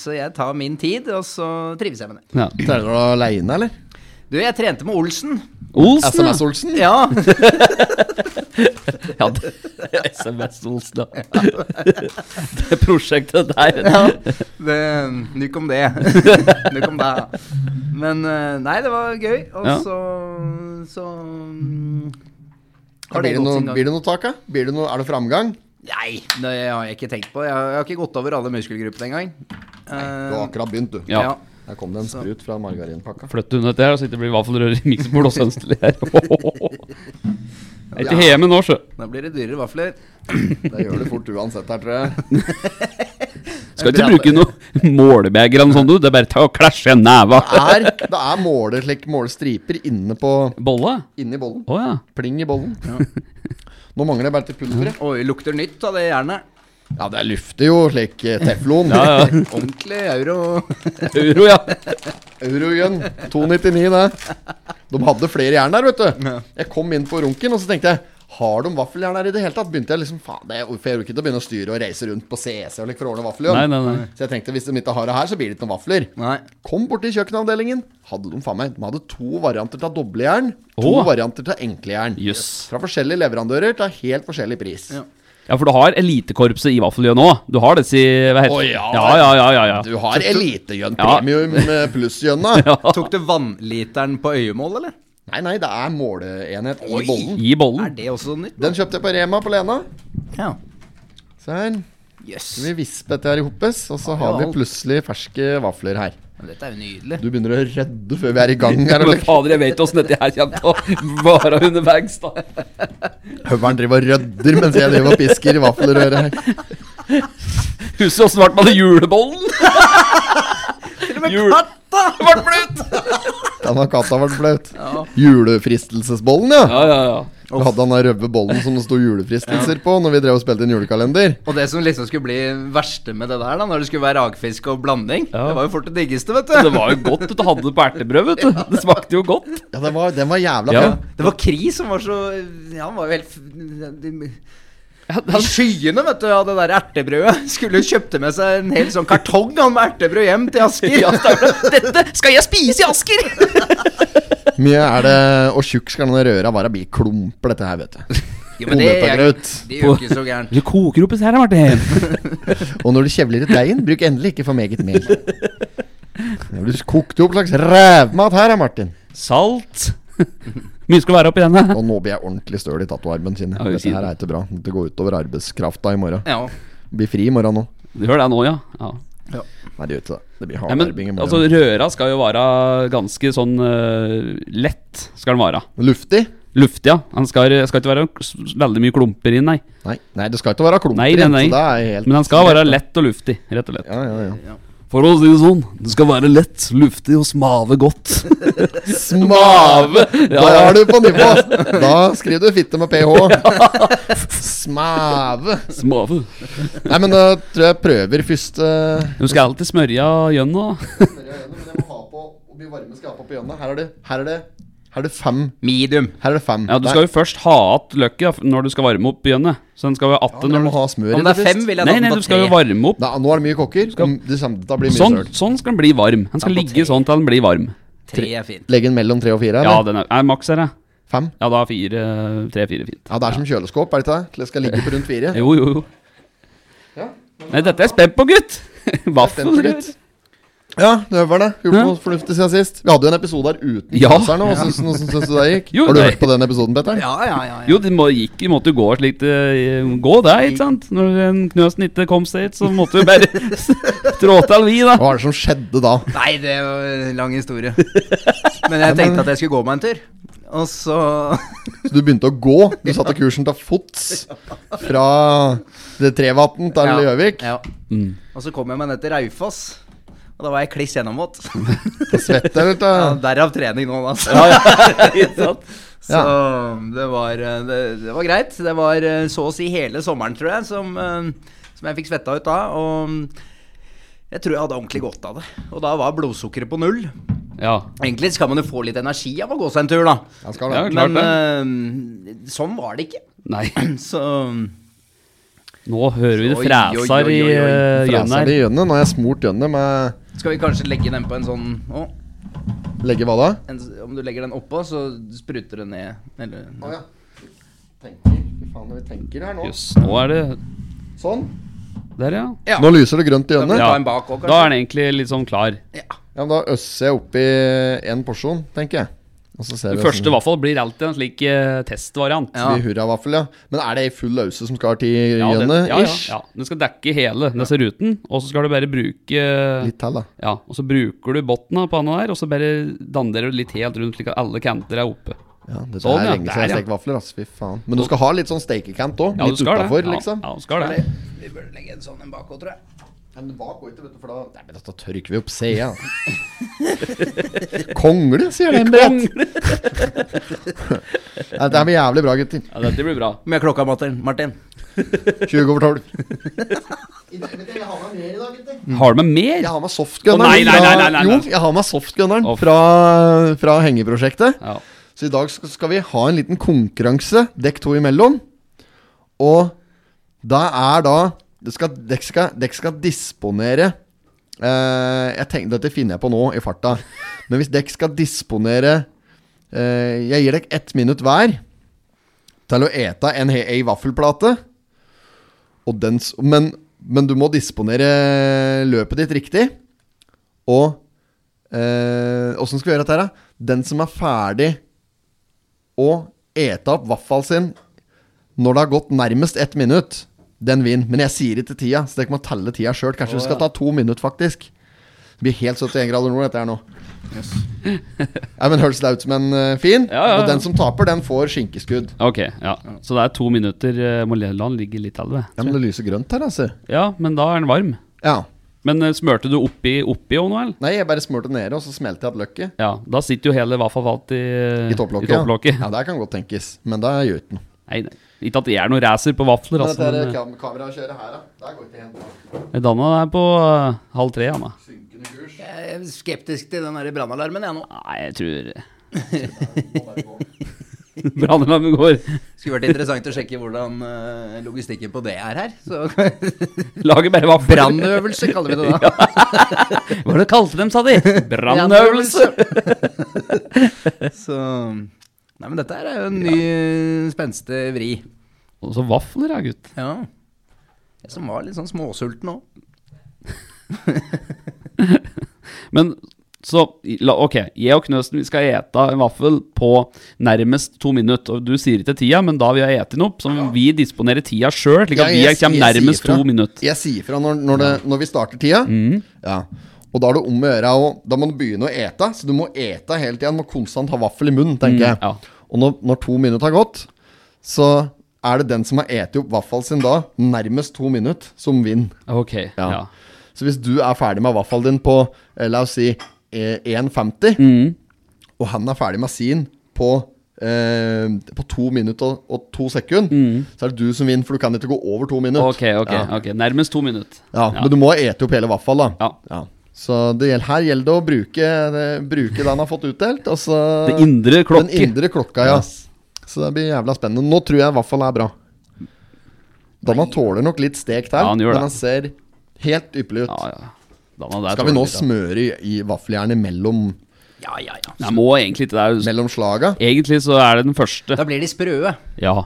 S3: så jeg tar min tid, og så trives jeg med det.
S2: Ja.
S1: Trener du aleine, eller?
S3: Du, jeg trente med Olsen.
S2: Olsen, ja.
S1: SMS-Olsen?
S3: Ja,
S2: ja det, SMS Olsen, ja. det prosjektet der.
S3: det, Nuk om det. Nuk om det. Men eh, nei, det var gøy. Og
S2: Ja.
S3: så, så mm, har
S1: Blir det
S3: gått
S1: noe,
S3: sin gang.
S1: blir det noe tak, da? Blir det noe, er det framgang?
S3: Nei, det har jeg ikke tenkt på. Jeg har, jeg har ikke gått over alle muskelgruppene engang.
S1: Du har
S3: Uh,
S1: akkurat begynt, du.
S2: Ja.
S3: ja.
S1: Der kom det en sprut fra margarinpakka.
S2: Flytt unna dette her, så det ikke blir vaffelrør i miksebord og sønstelig her. Jeg er ikke hjemme nå, sjø.
S3: Da blir det dyrere vafler.
S1: Det gjør du fort uansett her, tror jeg.
S2: Skal ikke bruke noe målebeger eller noe sånt, du. Det er bare ta og klæsje en neve.
S1: Det er, det er måler, slik målestriper inne på
S2: Bolle?
S1: Inni bollen.
S2: Å ja.
S1: Pling i bollen. Nå mangler det bare til pulveret.
S3: Oi, lukter nytt av det jernet.
S1: Ja, det lufter jo slik eh, teflon.
S2: Ja, ja.
S3: Ordentlig euro.
S2: Euro, ja.
S1: Eurogun 299, det. De hadde flere jern der, vet du. Jeg kom inn på runken, og så tenkte jeg har de vaffeljern her i det hele tatt? Begynte jeg liksom, faen, det, For jeg orker ikke å begynne å styre og reise rundt på CC og like, for å ordne vafler.
S2: Nei, nei, nei.
S1: Så jeg tenkte hvis de ikke har det her, så blir det ikke noen vafler.
S3: Nei.
S1: Kom bort til kjøkkenavdelingen. Hadde de faen meg De hadde to varianter av doblejern. To
S2: Åh.
S1: varianter av enklejern.
S2: Jøss.
S1: Fra forskjellige leverandører til helt forskjellig pris.
S3: Ja.
S2: Ja, for du har elitekorpset i vaffeljøen nå. Du har det, si Hva heter
S1: Å,
S2: det?
S1: ja.
S2: Ja, ja, ja, ja, ja.
S1: Du har elitegønn,
S2: Ja.
S1: premium eh, pluss-gjønn, da.
S3: Tok du vannliteren på øyemål, eller?
S1: Nei, nei, det er måleenhet i
S3: Oi.
S1: bollen.
S2: I
S3: Er
S2: bollen.
S3: det også nytt?
S1: Den kjøpte jeg på Rema på Lena.
S3: Ja.
S1: Se her.
S3: Jøss.
S1: Vi visper dette her i hoppes, og så har
S3: ja,
S1: vi
S3: alt.
S1: plutselig ferske vafler her.
S3: Men Dette er jo nydelig.
S1: Du begynner å redde før vi er i gang. her
S2: Men fader, jeg vet åssen dette her kommer til å vare underveis, da.
S1: Høveren driver og rydder mens jeg driver og pisker i vaffelrøret her.
S2: Husker du åssen ble med det julebollen? Jul-
S3: Katta! Ble bløt!
S1: Den har katta vært flaut. Julefristelsesbollen, ja.
S2: Ja, ja, ja.
S1: Vi hadde han der røve bollen som det sto julefristelser på når vi drev og spilte inn julekalender.
S3: Og det som liksom skulle bli verste med det der, da, når det skulle være rakfisk og blanding,
S2: Ja.
S3: det var jo fort det diggeste, vet
S2: Det
S3: du.
S2: var jo godt vet du hadde det på ertebrød, vet du. Det smakte jo godt.
S1: Ja, den var, den var jævla
S2: Ja.
S1: bra.
S3: Det var Kri som var så Ja, han var jo helt f-
S2: Ja,
S3: I skyene, vet du, av det der ertebrødet. Skulle jo kjøpte med seg en hel sånn kartong han med ertebrød hjem til Asker.
S2: Dette skal jeg spise i Asker!
S1: Mye er det Og tjukk skal den røra være. Blir klumper, dette her, vet du.
S3: Jo, men det, er-
S1: Ometagraut.
S3: det er jo ikke så gærent.
S2: Du koker opp disse her, Martin.
S1: Og når du kjevler ut deigen, bruk endelig ikke for meget mel. Når du kokte opp slags rævmat her, ja, Martin.
S2: Salt. Mye skal være oppi denne.
S1: Og nå blir jeg ordentlig støl i tatoarmen sin.
S2: Ja, vi
S1: Dette
S2: sier
S1: her er ikke bra. Det går utover arbeidskrafta i morgen.
S3: Ja.
S1: Blir fri i morgen nå.
S2: Du gjør det nå, ja. ja.
S1: Nei, det gjør ikke det. Det blir
S2: Nei,
S1: hard
S2: men,
S1: arbeid i
S2: altså,
S1: morgen.
S2: røra skal jo være ganske sånn eh, lett. Skal den være.
S1: Luftig?
S2: Luftig, ja. Den skal, skal ikke være s- veldig mye klumper inn, nei.
S1: Nei, nei, det skal ikke være klumper
S2: Nei, nei, nei.
S1: så det er helt
S2: Men den skal være lett og luftig, rett og slett.
S1: Ja, ja, ja.
S2: For å si det sånn, det skal være lett, luftig og smave godt.
S1: Smave! Da
S2: Ja.
S1: er du på nivå! Da skriver du fitte med ph. Smave.
S2: Smave.
S1: Nei, men da tror jeg jeg prøver først eh,
S2: Du skal alltid smørja gjønna.
S1: Her er det Her er det Her er det fem.
S3: Medium.
S1: Her er det fem.
S2: Ja, du skal jo først ha att løkka f- når du skal varme opp gjønnet. Så den skal være att
S1: Nei, du
S2: når
S1: må
S2: du
S1: ha smør
S3: Om det er fem,
S1: først.
S3: vil jeg
S2: Nei,
S3: ta
S2: nei,
S3: den
S2: du
S3: på
S2: skal jo
S3: tre.
S2: varme opp.
S1: Da, nå er det mye kokker. Mm, Det samme- da blir det mye
S2: Sånn,
S1: søl.
S2: sånn skal den bli varm. Den skal
S3: Ja, på
S2: ligge sånn til den blir varm.
S3: Tre er fint.
S1: Legg den mellom tre og fire?
S2: Ja,
S1: Eller?
S2: den er, er maks her, jeg.
S1: Fem?
S2: Ja, da er fire, tre-fire fint.
S1: Ja, det er som kjøleskåp, er det ikke det? Til det skal ligge på rundt fire.
S2: Jo, jo, jo. Nei, dette er jeg spent på, gutt. Vaffelrør.
S1: gutt. Ja, det var det. Gjort noe fornuftig siden sist. Vi hadde jo en episode her uten
S2: Ja.
S1: konsern. Hvordan syns du det gikk?
S2: Jo,
S1: Har du
S2: nei.
S1: hørt på den episoden, Petter?
S3: Ja, ja, ja. ja.
S2: Jo, det må, gikk, det måtte jo gå et slikt eh, Gå det, ikke sant? Når en Knøsen ikke kom seg hit, så måtte vi bare trå til, vi, da.
S1: Hva var det som skjedde da?
S3: Nei, det er jo en lang historie. Men jeg tenkte at jeg skulle gå meg en tur. Og så
S1: Så du begynte å gå. Du satte kursen til fots fra det Trevatn til
S3: Ja,
S1: Gjøvik.
S3: Ja. Og så kom jeg meg ned til Raufoss. Og da var jeg kliss gjennomvåt.
S1: Svette, eller?
S3: Ja,
S1: til-
S3: Derav trening nå, altså.
S2: Ikke sant?
S3: Så det var, eh, det, det var greit. Det var eh, så å si hele sommeren, tror jeg, som, eh, som jeg fikk svetta ut da. Og mm, jeg tror jeg hadde ordentlig godt av det. Og da var blodsukkeret på null.
S2: Ja.
S3: Egentlig skal man jo få litt energi av å gå seg en tur, da.
S1: Jeg skal
S2: Ja,
S1: da.
S2: klart
S3: Men eh, sånn var det ikke.
S2: Nei,
S3: Så um,
S2: nå hører vi det
S3: Oi, oi, oi,
S2: freser i
S3: oi, oi.
S2: eh, gjønn
S1: Fraser
S2: her.
S1: det i gjønnet. Nå har jeg smurt gjønnet med
S3: skal vi kanskje legge den på en sånn å,
S1: Legge hva da?
S3: en, Om du legger den oppå, så spruter det ned. Eller,
S1: Å ja. Tenker. Fy faen, vi tenker her nå.
S2: Jøss, nå er det
S1: Sånn.
S2: Der, ja.
S3: Ja.
S1: Nå lyser det grønt i
S3: Da må
S1: øynene.
S3: du
S1: Ja.
S3: ta en bak òg,
S2: Da er
S3: kanskje.
S2: den egentlig litt sånn klar.
S3: Ja.
S1: men da øsser jeg oppi en porsjon, tenker jeg. sånn Og så ser
S2: Den
S1: vi
S2: første
S1: hvordan-
S2: vaffel blir alltid en slik eh, testvariant.
S3: Ja.
S1: blir hurravaffel, ja. Men er det ei full lause som skal til
S2: Ja, det,
S1: gjønnet?
S2: ja, ja,
S1: Ish?
S2: ja. Den skal dekke hele disse ruten, og så skal du bare bruke eh,
S1: Litt til, da.
S2: Ja, og så bruker du bunnen av panna der, og så bare danner du litt helt rundt, slik at alle kanter er oppe.
S1: Ja, det
S2: Sånn,
S1: er
S2: ja.
S1: lenge siden jeg
S2: Der,
S1: har
S2: ja.
S1: stekt vafler, altså. Fy faen. Men du skal ha litt sånn stekekant òg.
S2: Ja, du
S1: litt
S2: skal
S1: utafor,
S2: det.
S1: liksom.
S2: Ja, ja, du skal det.
S3: Vi burde legge en sånn en bak òg, tror jeg.
S1: Ja, men bak går ikke, vet du, for da Nei, men dette tørker vi opp sida. Kongle, sier den brett. Nei, Det her blir jævlig bra, gutter.
S2: Ja, dette blir bra.
S3: Hvor mye er klokka, Martin? Martin?
S1: 20 over 12. Mm.
S2: Har du med mer?
S1: Jeg har med softgunneren.
S2: Å, nei, nei, nei,
S1: fra-
S2: nei, nei, nei.
S1: Jo, jeg har med softgunneren
S2: Å, fy.
S1: fra, fra hengeprosjektet.
S2: Ja.
S1: Så i dag skal, skal vi ha en liten konkurranse, dekk to imellom. Og da er da det skal, Dekk skal, dekk skal disponere eh, jeg tenk, Dette finner jeg på nå i farta. Men hvis dekk skal disponere eh, Jeg gir dekk ett minutt hver til å ete en he- ei vaffelplate. Og den, s- men, men du må disponere løpet ditt riktig. Og eh, åssen skal vi gjøre dette her, da? Den som er ferdig å ete opp vaffelen sin når det har gått nærmest ett minutt, den vinner. Men jeg sier ikke tida, så dere må telle tida sjøl. Kanskje vi skal ta to minutter, faktisk. Det blir helt 71 grader nord, dette her nå. Nei, men Høres det ut som en eh, fin?
S2: Ja, ja, ja.
S1: Og den som taper, den får skinkeskudd.
S2: Ok, ja. Så det er to minutter. eh, Må la den ligge litt halve.
S1: Ja, men det lyser grønt her, altså.
S2: Ja, men da er den varm.
S1: Ja.
S2: Men eh, smørte du oppi oppi òg nå, eller?
S1: Nei, jeg bare smurte nede, og så smelte jeg igjen løkket.
S2: Ja, da sitter jo hele vaffelfat i,
S1: I topplokket.
S2: I
S1: ja.
S2: topplokket.
S1: Ja, det kan godt tenkes, men det gjør ikke noe.
S2: Nei, nei. Ikke at jeg er noen racer på vafler,
S1: Men
S2: altså.
S1: dette
S2: Men,
S1: her kam- kamerakjøret her, da. Der går ikke hen.
S2: eh, Danna er på eh, halv tre, han da.
S3: Jeg er skeptisk til den der brannalarmen, jeg nå.
S2: Nei, jeg tror Brannalarmen går.
S3: Skulle vært interessant å sjekke hvordan eh, logistikken på det er her. Så
S2: Lager bare vafler.
S3: Brannøvelse kaller vi det da.
S2: Hva var det du kalte dem, sa de? Brannøvelse!
S3: Så Nei, men dette her er jo en ny eh, spenstig vri.
S2: Og så vafler, ja, gutt.
S3: Ja. Jeg som var litt sånn småsulten òg.
S2: Men så la, Ok, jeg og Knøsen vi skal ete en vaffel på nærmest to minutter. Og du sier ikke tida, men da vi har spist den opp, så må vi disponere tida sjøl. Slik at
S1: Ja, jeg-
S2: vi kommer
S1: jeg
S2: nærmest
S1: sier fra.
S2: to minutter. Mm.
S1: Jeg sier fra når, når, det, når vi starter tida. Ja. Og da er det om å gjøre å Da må du begynne å ete. Så du må ete hele tida. Du må konstant ha vaffel i munnen, tenker jeg.
S2: Mm, ja.
S1: Og når, når to minutter har gått, så er det den som har eti opp vaffelen sin da, nærmest to minutter, som vinner.
S2: Ok, ja.
S1: Ja. Så hvis du er ferdig med vaffelen din på eh, la oss si eh, 1,50,
S2: Mm.
S1: og han er ferdig med sin på eh, på to minutter og, og to sekunder, så er det du som vinner, for du kan ikke gå over to minutter.
S2: Mm. Ok, ok,
S1: Ja.
S2: ok Nærmest to minutter.
S1: Ja, Men du må ete opp hele vaffelen, da.
S2: Ja.
S1: Så det gjelder, her gjelder det å bruke, det- bruke den han har fått utdelt. Og så
S2: Det indre klokke.
S1: Den indre klokka, ja. Så det blir jævla spennende. Nå tror jeg vaffel er bra. Danna tåler nok litt stekt her,
S2: Ja, han gjør det.
S1: men han ser helt ypperlig ut.
S2: Ja, ja. Dana, der
S1: Skal
S2: tåler
S1: vi nå
S2: litt, da.
S1: smøre i, i vaffeljernet mellom,
S3: Ja, ja, ja.
S2: Nei, må egentlig ikke det. er jo-
S1: mellom slaga?
S2: Egentlig så er det den første.
S3: Da blir de sprø.
S2: Ja.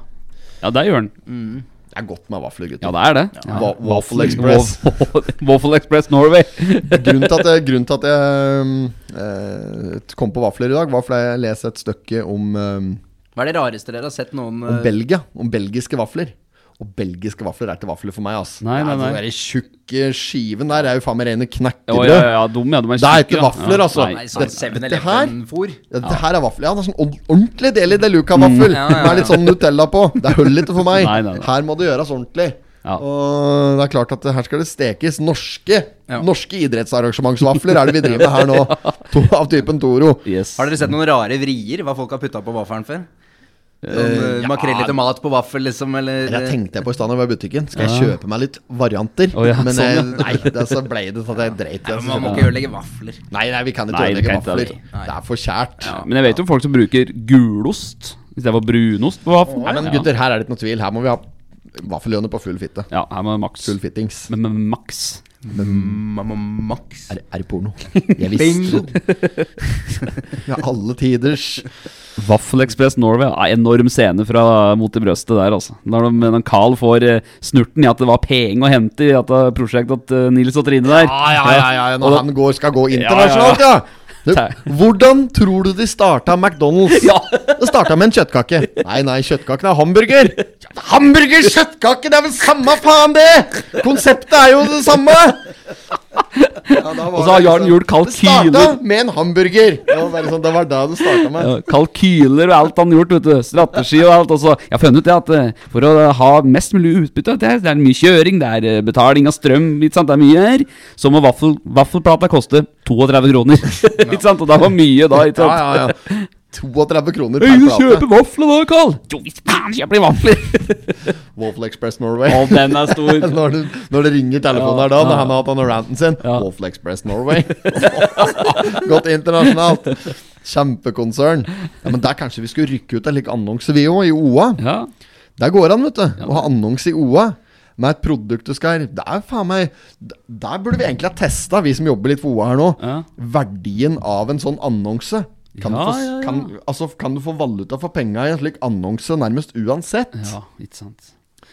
S2: Ja, det gjør den.
S1: Det er godt med vafler, gutter.
S2: Ja, det er det. Ja.
S1: Wa- Waffle Express.
S2: Waffle Express Norway.
S1: grunnen til at jeg, grunnen til at jeg um, eh, kom på vafler i dag, var fordi jeg leste et stykke om, um,
S3: Hva er det rareste dere har sett noen
S1: om
S3: eh,
S1: Belgia. Om belgiske vafler. Og belgiske vafler er ikke vafler for meg, ass.
S2: Nei, nei, nei.
S1: Den tjukke skiven der er jo faen meg rene
S2: Å,
S1: knekkebrød.
S2: ja, ja, ja, dum, ja, de er
S1: Det er
S2: tjukke,
S1: ikke
S2: ja.
S1: vafler,
S2: Ja,
S1: altså.
S2: Nei,
S3: Nei, sånn
S1: Dette-
S3: 7-Eleven-fôr.
S1: Ja, det her er vaffel. Ja, det er sånn ord- ordentlig deli de luca-vaffel.
S3: ja, ja, ja.
S1: Med litt sånn Nutella på. Det er hull ikke for meg.
S2: Mm. Nei, nei, nei.
S1: Her må det gjøres ordentlig.
S2: Ja.
S1: Og det er klart at det- her skal det stekes norske
S3: Ja.
S1: Norske idrettsarrangementsvafler er det vi driver med her nå. To, av typen Toro.
S2: yes.
S3: Har dere sett noen rare vrier? Hva folk har putta på vaffelen før? Sånn, eh, Makrell i tomat på vaffel, liksom, eller
S1: Det tenkte jeg på i stedet da jeg var i butikken. Skal jeg kjøpe meg litt varianter?
S2: Å, ja,
S1: Men
S2: sånn, ja.
S1: jeg, nei, det, så ble det sånn at jeg dreit i det.
S3: Men
S1: så
S3: Man må
S1: kjøpte
S3: ikke
S1: jeg-
S3: ødelegge vafler.
S1: Nei, nei, vi kan ikke
S2: Nei, vi
S1: ødelegge
S2: kan ikke
S1: vafler.
S2: det.
S1: Det er for kjært.
S2: Ja, Men jeg vet jo folk som bruker gulost istedenfor brunost på vaffel.
S1: Nei, men gutter, her er det ikke noe tvil. Her må vi ha vaffelhjørne på full fitte.
S2: Ja, her må det maks.
S1: Full fittings.
S2: Men men maks.
S3: Mamma Max.
S1: Er, er det porno? Jeg visste det. ja, alle tiders
S2: Vaffelekspress Norway ja, enorm scene fra mot i brøstet der, altså. Når de, når Carl får eh, snurten i at det var penger å hente i dette prosjektet til eh, Nils og Trine der.
S1: Ja, ja, ja, ja,
S2: Og
S1: når
S2: da-
S1: han går, skal gå internasjonalt, ja! Du, hvordan tror du de starta McDonald's?
S2: Ja.
S1: Det starta med en kjøttkake. Nei, nei, kjøttkaken er hamburger. Hamburger, kjøttkake, det er vel samme faen, det! Konseptet er jo det samme!
S2: Og så har Jarl Juel
S1: liksom- Det starta
S2: kalkyler.
S1: med en hamburger. Det var, bare sånn, det var da det starta med.
S2: Ja, Kalkyler og alt han har gjort, vet du. Strategi og alt. Og så jeg har funnet ut det at eh, for å ha mest mulig utbytte Det er, det er mye kjøring, det er eh, betaling av strøm, ikke sant. Det er mye her. Så må vaffel, vaffelplata koste 32 kroner. ikke sant. Og det var mye da,
S1: Ja,
S2: ikke sant.
S1: ja, ja. 32 kroner
S2: Øy,
S1: per plate.
S2: kjøpe vafler da, Carl! Jo, hvis faen kjøper de vafler!
S1: Waffle Express Norway.
S2: Og den er stor.
S1: når, det, når det ringer telefonen her da, når han har hatt denne ranten sin
S2: Ja.
S1: Waffle Express Norway. Gått internasjonalt. Kjempekonsern. Ja, men Der kanskje vi skulle rykke ut en lik annonse, vi òg, i OA.
S2: Ja.
S1: Der går an, vet du. Å ha annonse i OA. Med et produkt du skal Det er faen meg d- Der burde vi egentlig ha testa, vi som jobber litt for OA her nå,
S2: Ja.
S1: verdien av en sånn annonse. Kan,
S2: Ja,
S1: du få, s-
S2: ja, ja.
S1: Kan, altså, kan du få valuta for penga i en slik annonse nærmest uansett?
S2: ja, ikke sant.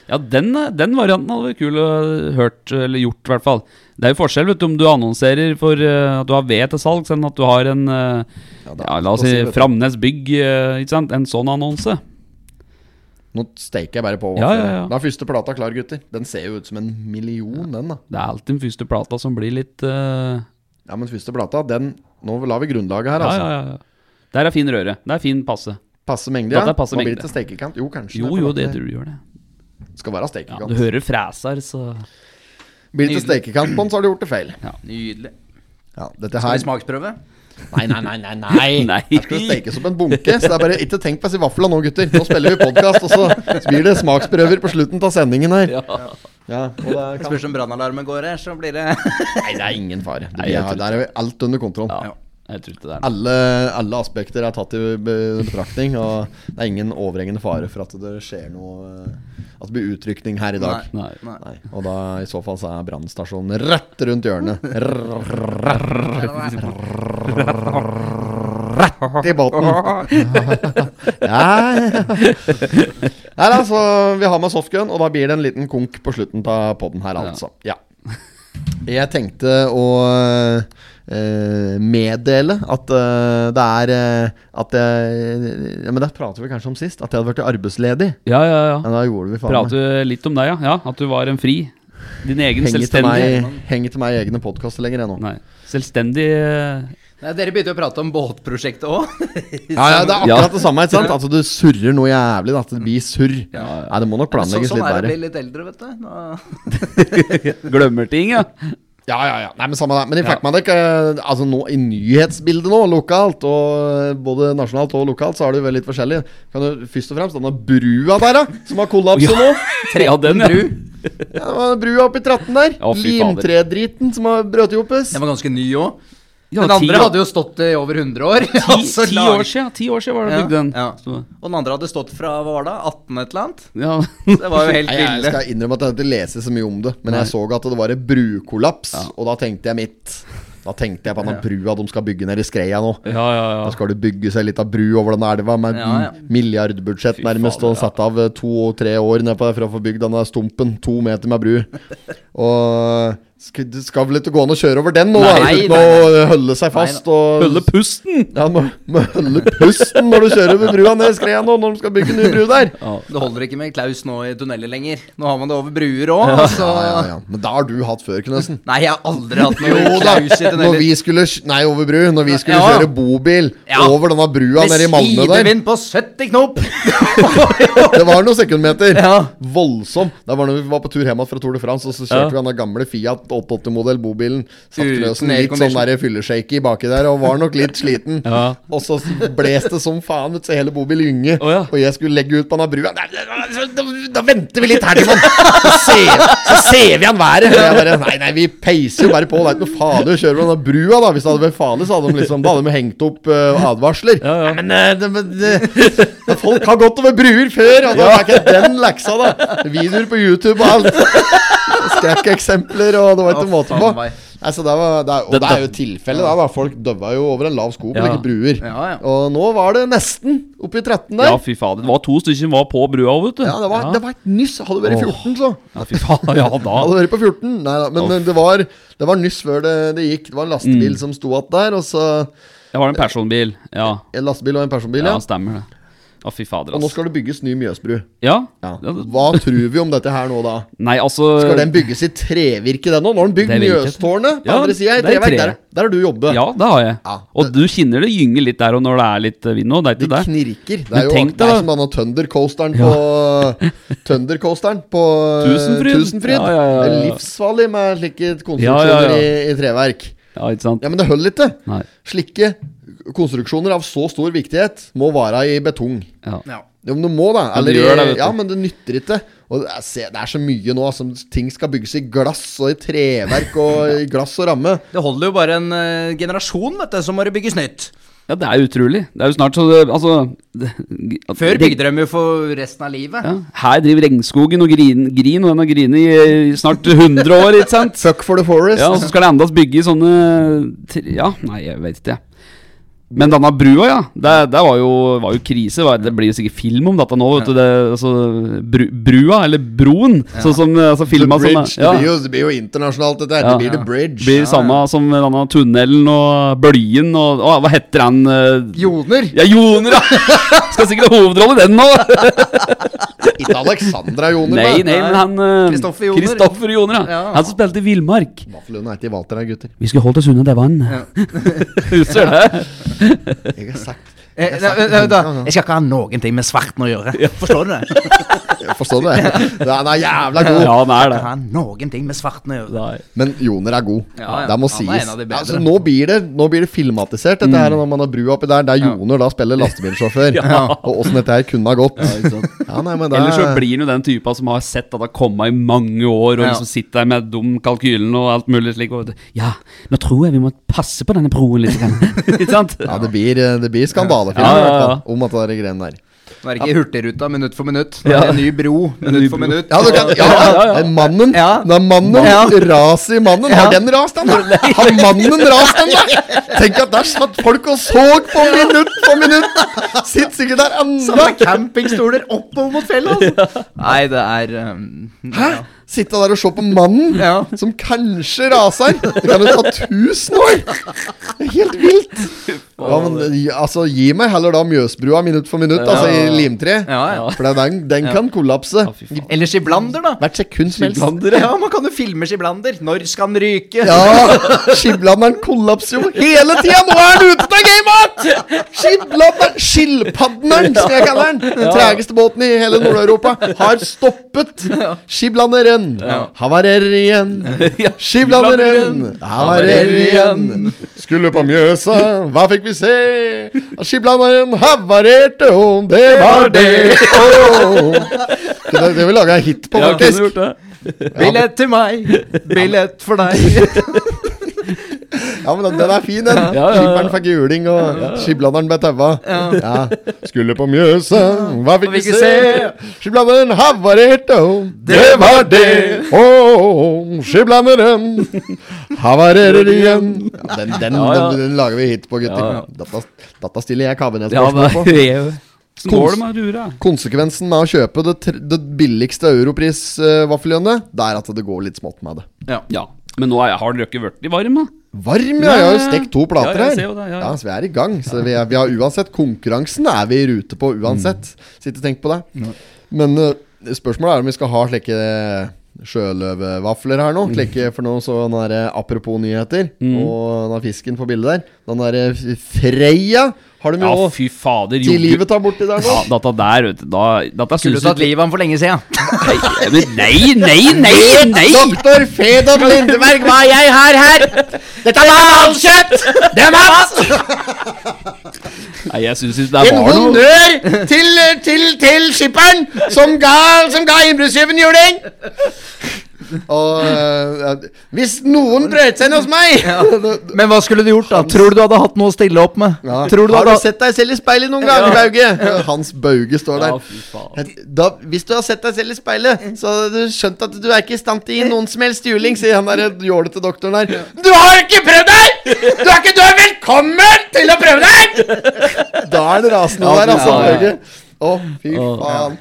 S2: Ja, den, er- den varianten hadde vært kul å hørt, eller gjort i hvert fall. Det er jo forskjell vet du, om du annonserer for eh, at du har ved til salg, enn at du har en eh, ja,
S1: det er
S2: La oss
S1: godt å
S2: si
S1: si, vet du.
S2: Framnes Bygg, eh, ikke sant. En sånn annonse.
S1: Nå steker jeg bare på.
S2: Ja, ja, ja.
S1: Da er første plata klar, gutter. Den ser jo ut som en million, den, da.
S2: Det er alltid den første plata som blir litt eh,
S1: Ja, men første plata, den Nå la vi grunnlaget her,
S2: Ja,
S1: altså.
S2: ja, ja. ja. Der er fin røre. Det er fin passe.
S1: Passe mengde,
S2: Plata
S1: ja.
S2: er passe
S1: Nå blir
S2: mengde.
S1: det til stekekant. Jo, kanskje.
S2: Jo,
S1: det er
S2: jo,
S1: plata.
S2: det tror du gjør det.
S1: Skal være
S2: Ja,
S1: stekekant.
S2: du hører freser, så
S1: blir det til stekekant på den, så har du gjort det feil.
S3: Nydelig.
S1: Ja, dette
S3: Skal vi
S1: her
S3: smaksprøve?
S1: Nei, nei, nei, nei. nei.
S2: Nei.
S1: Her skal det stekes opp en bunke, så det er bare ikke tenk på disse vafla nå, gutter. Nå spiller vi podkast, og så blir det smaksprøver på slutten av sendingen her. Ja, og det
S3: Det
S1: kan...
S3: spørs om brannalarmen går her, så blir det
S1: Nei, det er ingen fare. Det
S2: Nei,
S1: blir,
S2: jeg tror
S1: der er vi alt under kontroll.
S2: Ja, jeg tror ikke det er noe.
S1: alle, alle aspekter er tatt i be- betraktning, og det er ingen overhengende fare for at det skjer noe eh, At det blir utrykning her i dag.
S2: Nei.
S3: Nei.
S1: Nei. Og da i så fall så er brannstasjonen rett rundt hjørnet. Rett i båten! Ja. Nei da, så vi har med softgun, og da blir det en liten konk på slutten av poden her, altså. Ja. Jeg tenkte å eh, meddele at eh, det er eh, At jeg ja, Men det prater vi kanskje om sist, at jeg hadde vært arbeidsledig.
S2: Ja, ja, ja.
S1: Men da gjorde vi faen meg
S2: Prater du litt om deg, ja. ja? At du var en fri. Din egen
S1: Henger til
S2: selvstendige
S1: meg, henger til meg i egne podkaster lenger ennå.
S2: Nei. Selvstendig eh,
S3: Nei, Dere begynte jo å prate om båtprosjektet òg.
S1: Ja, ja, det er
S2: Ja.
S1: akkurat det samme. ikke sant? Altså, Du surrer noe jævlig. da, At det blir surr. Nei, det må nok
S3: Så,
S1: planlegges
S3: sånn
S1: litt
S3: er det å
S1: bedre.
S3: bli litt eldre, vet du. Nå,
S2: glemmer ting, ja.
S1: Ja, ja, ja. Nei, men samme det. Men i Facmanic, eh, altså nå i nyhetsbildet nå, lokalt, og eh, både nasjonalt og lokalt, så er det jo vel litt forskjellig. Kan du først og fremst denne brua der, da, som har kollapset nå.
S2: Tre av den, ja.
S1: Ja, det var brua oppi 13 der.
S2: Å, fy fader.
S1: Limtredriten som har brøt i hopes.
S3: Den var ganske ny òg.
S2: Ja,
S3: Den
S2: ti
S3: andre
S2: år-
S3: hadde jo stått i over 100 år.
S2: ti,
S3: Altså,
S2: ti
S3: lag-
S2: år siden, ti år siden var det
S3: Ja,
S2: bygd den.
S3: ja.
S2: Så-
S3: Og den andre hadde stått fra hva var det, 18 et eller annet?
S2: Ja.
S3: Det var jo helt
S1: Nei, jeg
S3: ville.
S1: skal innrømme at jeg ikke leser så mye om det, men jeg så at det var en brukollaps, og da tenkte jeg mitt. Da tenkte jeg på den brua de skal bygge nede i Skreia nå.
S2: ja, ja, ja.
S1: Da skal det bygge seg litt av bru over den elva med
S3: Ja, ja.
S1: milliardbudsjett nærmest, og sette av to-tre år ned på det for å få bygd denne stumpen. To meter med bru. Og skal, det skal vel ikke gå an å kjøre over den nå, da?
S3: Nei,
S1: Uten
S3: nei,
S1: å holde seg fast og
S2: Følge pusten!
S1: Ja, må, må holde pusten når du kjører over brua ned i Skreia nå, når de skal bygge ny bru der.
S3: Det holder ikke med Klaus nå i tunneler lenger. Nå har man det over bruer òg, altså.
S1: Ja, ja, ja. Men da har du hatt før, Knøsen.
S3: Nei, jeg har aldri hatt
S1: Jo
S3: noe
S1: da,
S3: Klaus i
S1: når
S3: tunneler.
S1: vi skulle kj- Nei, over bru. Når vi skulle
S3: Ja, ja.
S1: kjøre bobil
S3: Ja.
S1: over denne brua
S3: Med
S1: nede i Malmö der.
S3: sidevind på 70 knop!
S1: Det var noen sekundmeter.
S3: Ja.
S1: Voldsom. Det var når vi var på tur hjem igjen fra Tour de France, og så
S2: Ja.
S1: kjørte vi den der gamle Fiat 880-modell bobilen. Satt
S3: Uten
S1: Knøsen litt
S3: aircondition.
S1: sånn der fylleshaky baki der, og var nok litt sliten.
S2: Ja.
S1: Og så bles det som faen, vet du, så hele bobil gynge.
S2: Å, ja.
S1: Og jeg skulle legge ut på denne brua. Nei, nei, nei, så- Da, da venter vi litt her til man Så ser, så ser vi han været. Og jeg bare, Nei, nei, vi peiser jo bare på. Det er ikke noe farlig å kjøre over denne brua, da. Hvis det hadde vært farlig, så hadde de liksom Da hadde de hengt opp eh, advarsler.
S2: Ja, ja.
S1: Nei, Men eh, det, men det, men folk har gått over bruer før, og da er ikke den leksa, da. Videoer på YouTube og alt. Skrekkeksempler, og det var ikke
S3: Å,
S1: måte
S3: faen
S1: på.
S3: meg.
S1: Nei, så det, var, det, er, og
S2: Det-
S1: det er jo tilfellet, da, da. Folk døva jo over en lav sko på
S2: Ja.
S1: like bruer.
S3: Ja, ja.
S1: Og nå var det nesten oppi 13 der.
S2: Ja,
S1: Ja,
S2: fy fader. Det var to stykker som var på brua òg, vet du.
S1: det, var,
S2: ja.
S1: det var et nyss. Hadde det vært 14, så.
S2: ja, fy faen. Ja,
S1: Hadde
S2: da.
S1: det vært på 14. Nei da, men det var, det var nyss før det, det gikk. Det var en lastebil som sto igjen der, og så
S2: Det var en personbil. Ja,
S1: En lastebil og en personbil, ja.
S2: ja stemmer det. Å, fy fader,
S1: Og nå
S2: ass.
S1: skal det bygges ny Mjøsbru.
S2: Ja.
S1: Ja.
S2: Ja, det-
S1: Hva tror vi om dette her nå, da?
S2: Nei, altså
S1: Skal den bygges i trevirke, den òg? Nå har den bygd
S2: Det er virket.
S1: Mjøstårnet på
S2: Ja,
S1: andre sida i
S2: det er i
S1: treverk.
S2: tre.
S1: Der, der har du jobbet.
S2: Ja, det har jeg.
S1: Ja,
S2: Og du kjenner det gynger litt der og når det er litt eh, vind nå. Det er
S1: Det
S2: ikke det.
S1: knirker. Det
S2: Men
S1: er jo
S2: tenk deg
S1: det er
S2: da.
S1: som denne Thundercoasteren på Thundercoasteren på eh,
S2: Tusenfryd.
S1: Tusenfryd.
S2: Ja, ja, ja, ja.
S1: Det er livsfarlig med slike konstruksjoner
S2: Ja, ja, ja.
S1: I, i treverk.
S2: Ja, ikke sant?
S1: Ja, men det holder ikke.
S2: Nei.
S1: Slike konstruksjoner av så stor viktighet må være i betong.
S2: Ja.
S3: Ja.
S1: Jo, men du må det. Eller,
S2: gjør det, vet du.
S1: ja, men det nytter ikke. Og jeg ser, det er så mye nå som ting skal bygges i glass og i treverk og i glass og ramme.
S3: Det holder jo bare en eh, generasjon, vet du, så må det bygges nytt.
S2: ja, det er utrolig. Det er jo snart så det, Altså det, at-
S3: Før
S2: det-
S3: bygde de jo for resten av livet.
S2: ja. Her driver regnskogen og grin, grin og den har grinet i, i snart 100 år, ikke sant?
S1: Fuck for the forest. Altså,
S2: Ja, og så skal det endas bygge i sånne tre- Ja, nei, jeg vet ikke. Men denne brua, ja. Det, det var, jo, var jo krise. var- Det blir jo sikkert film om dette nå. Vet du, det, altså, bru, brua, eller broen, sånn som eh, altså,
S1: The
S2: filma som
S1: Bridge.
S2: ja,
S1: Det, blir jo, det blir jo internasjonalt, dette. her.
S2: Ja.
S1: Det blir The Bridge.
S2: blir samme som denne tunnelen og bølgen og å, Hva heter han? eh,
S3: Joner.
S2: Ja, Joner, ja! Skal sikkert ha hovedrolle i den nå!
S1: Ikke Alexandra Joner.
S2: Nei,
S1: men-
S2: nei, men han eh,
S3: Kristoffer Joner.
S2: Kristoffer Joner, ja.
S3: Ja.
S2: Han som spilte i Villmark.
S1: Vaffelhund er ikke i Walter her, gutter.
S2: Vi skulle holdt oss unna det vannet. Husker du det?
S1: Jeg har sagt
S3: Eh, nei, nei, nei, da. Jeg skal ikke ha noen ting med svarten å gjøre. Forstår du det?
S1: Jeg Forstår du det? Den er jævla god.
S2: Ja, han er
S3: Jeg
S2: det.
S3: skal ha noen ting med svarten å gjøre.
S2: Nei.
S1: Men Joner er god.
S3: Ja, ja.
S1: Det må
S3: Han er
S1: sies.
S3: en av de bedre.
S1: Altså, nå, blir det, nå blir det filmatisert, dette
S2: Mm.
S1: her når man har brua oppi der, der Joner da spiller lastebilsjåfør. Og åssen dette her kunne ha gått. Ja, nei, men det
S2: Ellers så
S1: er-
S2: blir han jo den typa som har sett at det har kommet i mange år, og
S3: Ja.
S2: liksom sitter der med dum kalkylen og alt mulig slik. Og, ja, nå tror jeg vi må passe på denne broen litt. grann. Ikke sant?
S1: ja, det blir, eh, det blir skandalefilm
S2: Ja, ja,
S1: i
S2: ja.
S1: hvert fall, om at det er greiene der.
S3: Nå er det ikke Hurtigruta minutt for minutt. Nå er det en ny bro minutt for minutt.
S1: Ja, du kan, ja,
S2: ja, ja.
S1: det er Mannen.
S3: Ja.
S1: Det er mannen.
S3: Ja.
S1: Raset i mannen. Har den rast, den? da? Har mannen rast, den? da? Tenk at der satt folk og så på minutt for minutt! Sitter sikkert der ennå.
S3: Samme campingstoler oppover mot fjellet, altså. Nei, det er um,
S1: Hæ? Sitte der og se på mannen
S3: Ja.
S1: som kanskje raser. Det kan jo ta tusen år! Det er helt vilt.
S3: på
S1: Ja, men gi- altså, gi meg heller da Mjøsbrua minutt for minutt, altså i limtre.
S3: ja, ja.
S1: For det er den, den kan kollapse.
S2: Ja, fy faen.
S3: Eller skiblander, da.
S1: Hvert sekund som helst.
S2: Skiblander,
S3: Ja, man kan jo filme skiblander. Når skal han ryke?
S1: Ja! Skiblanderen kollapser jo hele tida! Nå er han ute av gamet! Skiblanderen, skilpadderen, som jeg kaller den, den tregeste båten i hele Nord-Europa, har stoppet. Skiblanderen havarerer igjen.
S2: Ja.
S1: Skiblanderen havarerer igjen. Skulle på Mjøsa, hva fikk vi se? Skiblanderen havarerte, og det var det. Åh. Det det vil vi lage en hit på,
S2: Ja, kunne
S1: faktisk.
S2: gjort det.
S3: Billett til meg, billett for deg.
S1: Ja, men den, den er fin, den. Ja,
S2: ja, ja.
S1: fikk juling, og skiblanderen ble taua. Ja. Skulle på Mjøsa, hva fikk vi
S3: vi ikke
S1: se? Skiblanderen havarerte, og det var det. Å, skiblanderen havarerer igjen. Ja, den, den,
S2: Ja, ja.
S1: Den, den lager vi hit på, gutter.
S2: Ja, ja.
S1: Dette, dette stiller jeg kabben et
S2: Ja, men
S1: spørsmål på.
S2: Hvordan går det med Rura?
S1: Konsekvensen med å kjøpe det, tr- det billigste europris-vaffeljønnet, det er at det går litt smått med det.
S2: Ja. Men nå er jeg, har dere ikke vært i varm, da?
S1: Varm, ja. Jeg har jo stekt to plater
S2: Ja, jeg
S1: her.
S2: ser jo det, ja, ja.
S1: så vi er i gang. Så vi, er, vi har uansett Konkurransen er vi i rute på uansett.
S2: Mm.
S1: Så ikke tenk på det. Men eh, spørsmålet er om vi skal ha slike eh, sjøløvevafler her
S2: Mm.
S1: nå. Slike for noe så den der, eh, apropos nyheter, og den der fisken på bildet der. Den derre Freia har de
S2: Ja,
S1: jo også
S2: fy fader.
S1: til
S2: jo-
S1: livet tar borti der nå.
S2: Ja, dette der, vet du. Da, dette
S3: Skulle
S2: synes
S3: du tatt livet av ham for lenge siden.
S2: Nei, men nei, nei, nei! nei.
S1: Doktor Fedon Lindeberg, hva er jeg har her? Dette er halskjøtt! Det er mat!
S2: Nei, jeg syns ikke det
S1: En
S2: var noe
S1: honnør til, til, til skipperen som ga, som ga innbruddstyven juling! Og eh, Hvis noen brøt seg inn hos meg
S3: Men hva skulle du gjort, da? Tror du du hadde hatt noe å stille opp med?
S1: ja.
S3: Tror du du
S1: Har
S3: hadde
S1: du sett deg selv i speilet noen gang, Bauge? Hans Bauge står
S2: Ja,
S1: der.
S2: fy faen.
S1: Da, hvis du har sett deg selv i speilet,
S3: Mm.
S1: så har du skjønt at du er ikke i stand til å gi noen som helst juling, sier han der jålete doktoren der. Du har ikke prøvd deg! Du er ikke du er velkommen til å prøve deg! Da er det rasende
S2: Ja,
S1: der, altså.
S2: ja, ja.
S1: Børge. Å, fy
S2: Å.
S1: faen.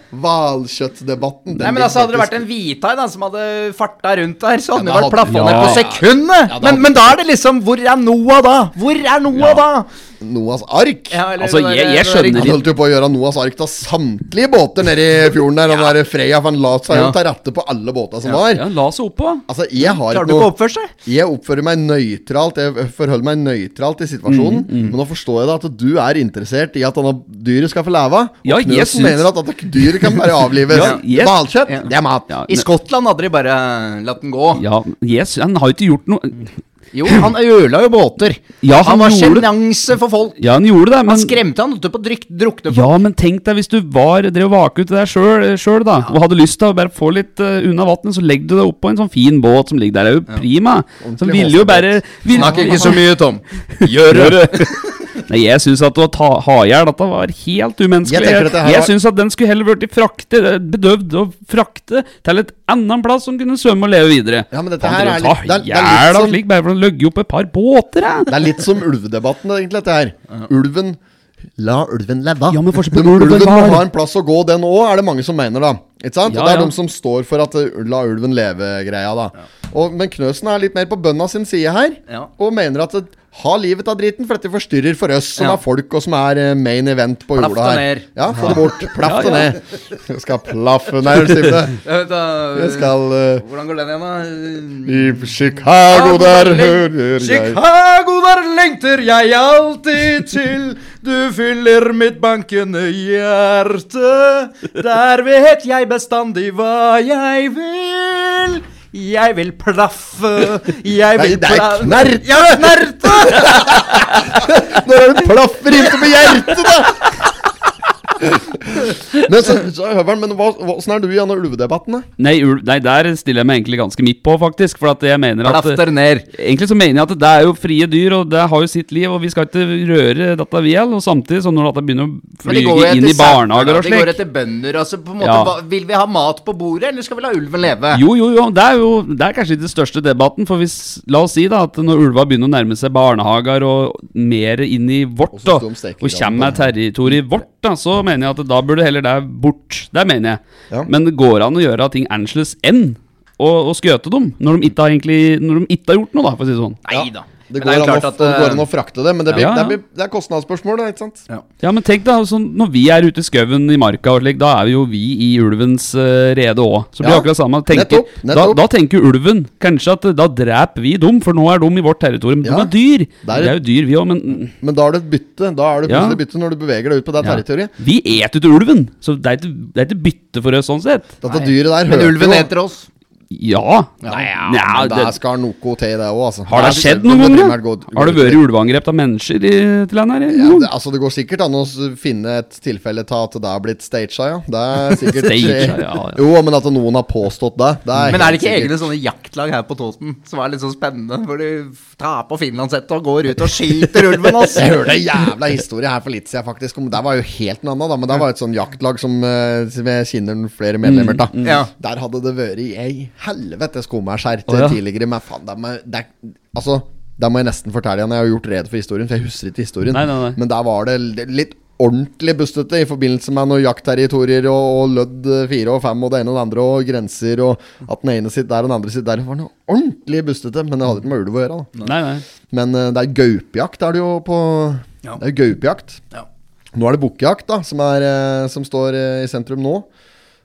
S1: Hvalkjøttdebatten. den
S3: Nei, men
S1: blir
S3: altså Hadde det vært
S1: faktisk-
S3: en hvithai da, som hadde farta rundt der, så hadde
S1: Ja, da
S3: han jo vært
S1: hadde-
S3: plaffa ned
S2: ja.
S3: på sekundet!
S1: da
S3: Men,
S1: hadde-
S3: men da er det liksom Hvor er Noah da? Hvor er Noah da?
S1: Noahs ark.
S3: Ja, eller
S2: Altså,
S3: det der-
S2: jeg- jeg
S3: det der-
S2: skjønner
S1: Han holdt jo på å gjøre Noahs ark til samtlige båter nede i fjorden der. Han der Freya, for han la seg jo
S3: Ja.
S1: ta rattet på alle båter som var.
S2: Ja, la seg oppå.
S1: Altså, jeg har
S3: Klarer
S1: ikke
S3: du ikke
S1: noe
S3: å oppføre seg?
S1: Jeg oppfører meg nøytralt Jeg forholder meg nøytralt i situasjonen.
S2: Mm,
S1: Men nå forstår jeg da at du er interessert i at denne dyret skal få leve. Og
S2: Ja, jeg
S1: Knudsen
S2: syns-
S1: mener at dette dyret kan bare avlives.
S2: Ja, jeg-
S1: Hvalkjøtt,
S3: Ja.
S1: det er mat.
S2: Ja,
S3: I Skottland hadde de bare latt den gå.
S2: ja yes, han har jo ikke gjort noe
S3: Jo, han ødela jo båter.
S2: Ja, han,
S3: Han var
S2: gjorde det.
S3: sjenanse for folk.
S2: Ja, han gjorde det,
S3: Han
S2: men
S3: skremte han holdt på å dryk- drukne folk.
S2: ja, men tenk deg hvis du var, drev og vaket ut det der sjøl, sjøl eh, da, og hadde lyst til å bare få litt eh, unna vannet, så legger du deg oppå en sånn fin båt som ligger der. Det er jo prima. Som ville jo bare vil,
S3: Snakk ikke så mye, Tom. Gjør det.
S2: Nei, jeg syns at å ta haier dette var helt
S1: Jeg tenker
S2: umenneskelig.
S1: at
S2: Jeg,
S1: det her
S2: jeg
S1: var-
S2: syns at den skulle heller vært frakte, eh, bedøvd og frakte til et annen plass som kunne svømme og leve videre.
S1: Ja, men dette
S2: Faen,
S1: her
S2: dere
S1: er
S2: tar
S1: litt- sånn- det er- det er
S2: jævla
S1: litt som-
S2: slik bare for å løgge opp et par båter, eh. jeg.
S1: Det er litt som ulvedebatten, egentlig, dette her. Ulven La ulven leve.
S2: Ja, men forskjell på
S1: Den
S2: ulven
S1: ulven må
S2: var-
S1: ha en plass å gå, den òg, er det mange som mener, da. Ikke sant?
S2: Ja,
S1: Og det er
S2: ja.
S1: de som står for at uh, la ulven leve-greia, da. Og, men Knøsen er litt mer på bønda sin side her,
S3: Ja.
S1: og mener at uh, ha livet av driten, for dette forstyrrer for oss som
S3: Ja.
S1: er folk, og som er uh, main event på
S3: Plaff
S1: jorda
S3: det
S1: her.
S3: ned.
S1: Ja, få det bort. Plaff det ned. Jeg skal plaffe ned, sier det. Jeg skal uh,
S3: Hvordan går den igjen, da?
S1: I Chicago, der hører jeg
S3: Chicago, der lengter jeg alltid til. Du fyller mitt bankende hjerte. Der vet jeg bestandig hva jeg vil. Jeg vil plaffe, jeg vil
S1: Nei, det er
S3: pla-
S1: knert.
S3: Ja, knerte!
S1: Når er det plaffer inntil på hjertet, da? men så, så Høveren, men hva, hva, åssen er du i denne ulvedebatten, da?
S2: Nei, ulv- nei, der stiller jeg meg egentlig ganske midt på, faktisk. For at jeg mener at eh,
S3: Plaff der ned.
S2: Egentlig så mener jeg at det er jo frie dyr, og det har jo sitt liv, og vi skal ikke røre dette vi gjeld. Og samtidig, så når dette begynner å
S3: Men de går jo
S2: flyge inn
S3: etter
S2: i barnehager og
S3: sauer, da. De går
S2: slik
S3: etter bønder. altså på en måte,
S2: Ja.
S3: hva- Vil vi ha mat på bordet, eller skal vi la ulven leve?
S2: Jo, jo, jo. Det er jo det er kanskje ikke den største debatten. For hvis, la oss si da at når ulva begynner å nærme seg barnehager og mer inn i vårt,
S1: Og så
S2: da,
S1: står de
S2: og
S1: steker i
S2: kommer
S1: land,
S2: med territoriet vårt, da, så mener jeg at da burde heller det bort. Det mener jeg.
S1: Ja.
S2: Men det går an å gjøre ting annerledes enn å, å skjøte dem, når de ikke har egentlig Når de ikke har gjort noe, da, for å si det sånn.
S3: Nei da.
S1: Det
S3: Men
S1: går,
S3: det er jo
S1: an å,
S3: klart at,
S1: det går
S3: eh,
S1: an å frakte det, men det, blir,
S2: Ja, ja.
S1: Det, blir, det er kostnadsspørsmål, da, ikke sant?
S2: Ja, men tenk da, sånn, når vi er ute i skauen i marka, og slik, da er vi jo vi i ulvens eh, rede òg. Så blir det
S1: Ja,
S2: akkurat samme. Tenker,
S1: nettopp, nettopp.
S2: Da, da tenker jo ulven kanskje at eh, da dreper vi dem, for nå er de i vårt territorium. De
S1: Ja,
S2: er dyr.
S1: det er-
S2: Vi er jo dyr, vi òg, men mm,
S1: Men da er det et bytte. Da er det
S2: Ja.
S1: plutselig bytte når du beveger deg ut på det
S2: ja.
S1: territoriet.
S2: Vi eter jo til ulven, så det er ikke, det er ikke bytte for oss sånn sett.
S1: Dette dyret der
S3: Men
S1: hørte
S3: ulven
S1: jo-
S3: eter oss.
S2: Ja.
S3: Nei, ja,
S2: Nja,
S1: Men
S2: det,
S1: der skal noe til, det òg, altså.
S2: har det
S1: Der
S2: skjedd
S1: skal
S2: noen
S1: det
S2: ganger?
S1: primært gå-
S2: Har det vært ulveangrep av mennesker i, til landet her?
S1: Ja,
S2: noen?
S1: det, altså det går sikkert an å s- finne et tilfelle til at det har blitt staged, ja. Det er sikkert
S2: Staged, ja, ja.
S1: Jo, men at noen har påstått det. det er
S3: Men er det
S1: helt
S3: ikke
S1: sikkert.
S3: egne sånne jaktlag her på Toten som er litt sånn spennende? Hvor du tar på finlandshetta og går ut og skyter ulven, ass!
S1: Jeg hørte en jævla historie her for litt siden, faktisk. Om, der var jo helt en annen, da. Men der var et sånn jaktlag som, eh, som jeg kjenner flere
S2: Mm,
S1: medlemmer av.
S3: Ja.
S1: Der hadde det vært ei helvetes skummerskjær
S2: Å, ja.
S1: tidligere. Men faen, det er, det er, altså, der må jeg nesten fortelle igjen. Jeg har jo gjort rede for historien, for jeg husker ikke historien.
S2: Nei, nei, nei.
S1: Men der var det l- litt ordentlig bustete i forbindelse med noen jaktterritorier og, og lødd eh, fire og fem og det ene og det andre og grenser og at den ene sitter der og den andre sitter der. Det var noe ordentlig bustete, men det hadde ikke med ulv å gjøre. da
S2: Nei, nei.
S1: men eh, det er gaupejakt er det jo på
S3: Ja.
S1: Det er jo gaupejakt.
S3: Ja.
S1: Nå er det bukkejakt, da, som, er, eh, som står eh, i sentrum nå.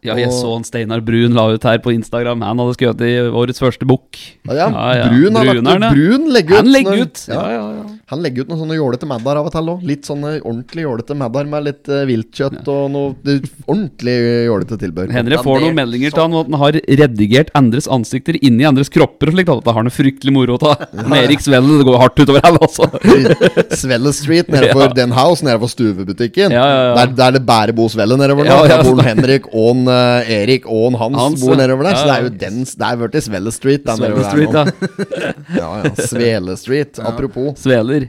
S2: Ja, jeg
S1: Og-
S2: så han Steinar Brun la ut her på Instagram. Han hadde skutt i årets første bukk.
S1: Ja, ja. Brun, har lagt ut,
S2: Bruneren, ja.
S1: Brun legger ut.
S2: Han legger
S1: sånne-
S2: ut! Ja, ja, ja.
S1: Han legger ut noen sånne jålete maddar av og til òg. Litt sånne ordentlig jålete maddar med litt eh, viltkjøtt og noe det, ordentlig jålete tilbør.
S2: Henry får
S3: det-
S2: noen meldinger til han om at han har redigert andres ansikter inni andres kropper. og slikt. Da har han det fryktelig moro av. Men Erik Svelle, det går hardt utover alle, altså.
S1: Svelle Street nede for
S2: Ja.
S1: Den House, nede for stuebutikken.
S2: Ja, ja, ja.
S1: Der, der det bare bor Svelle nedover nå.
S2: Ja, ja.
S1: Der bor han Henrik og han, eh, Erik og han Hans,
S2: Hans,
S1: bor
S2: ja.
S1: nedover der.
S2: Ja,
S1: Så det
S2: ja.
S1: er jo den Det er blitt Svelle Street. der nedover
S2: Svelle
S1: der
S2: Street,
S1: nå.
S2: ja.
S1: Ja, ja. Svele Street, apropos.
S2: Sveler.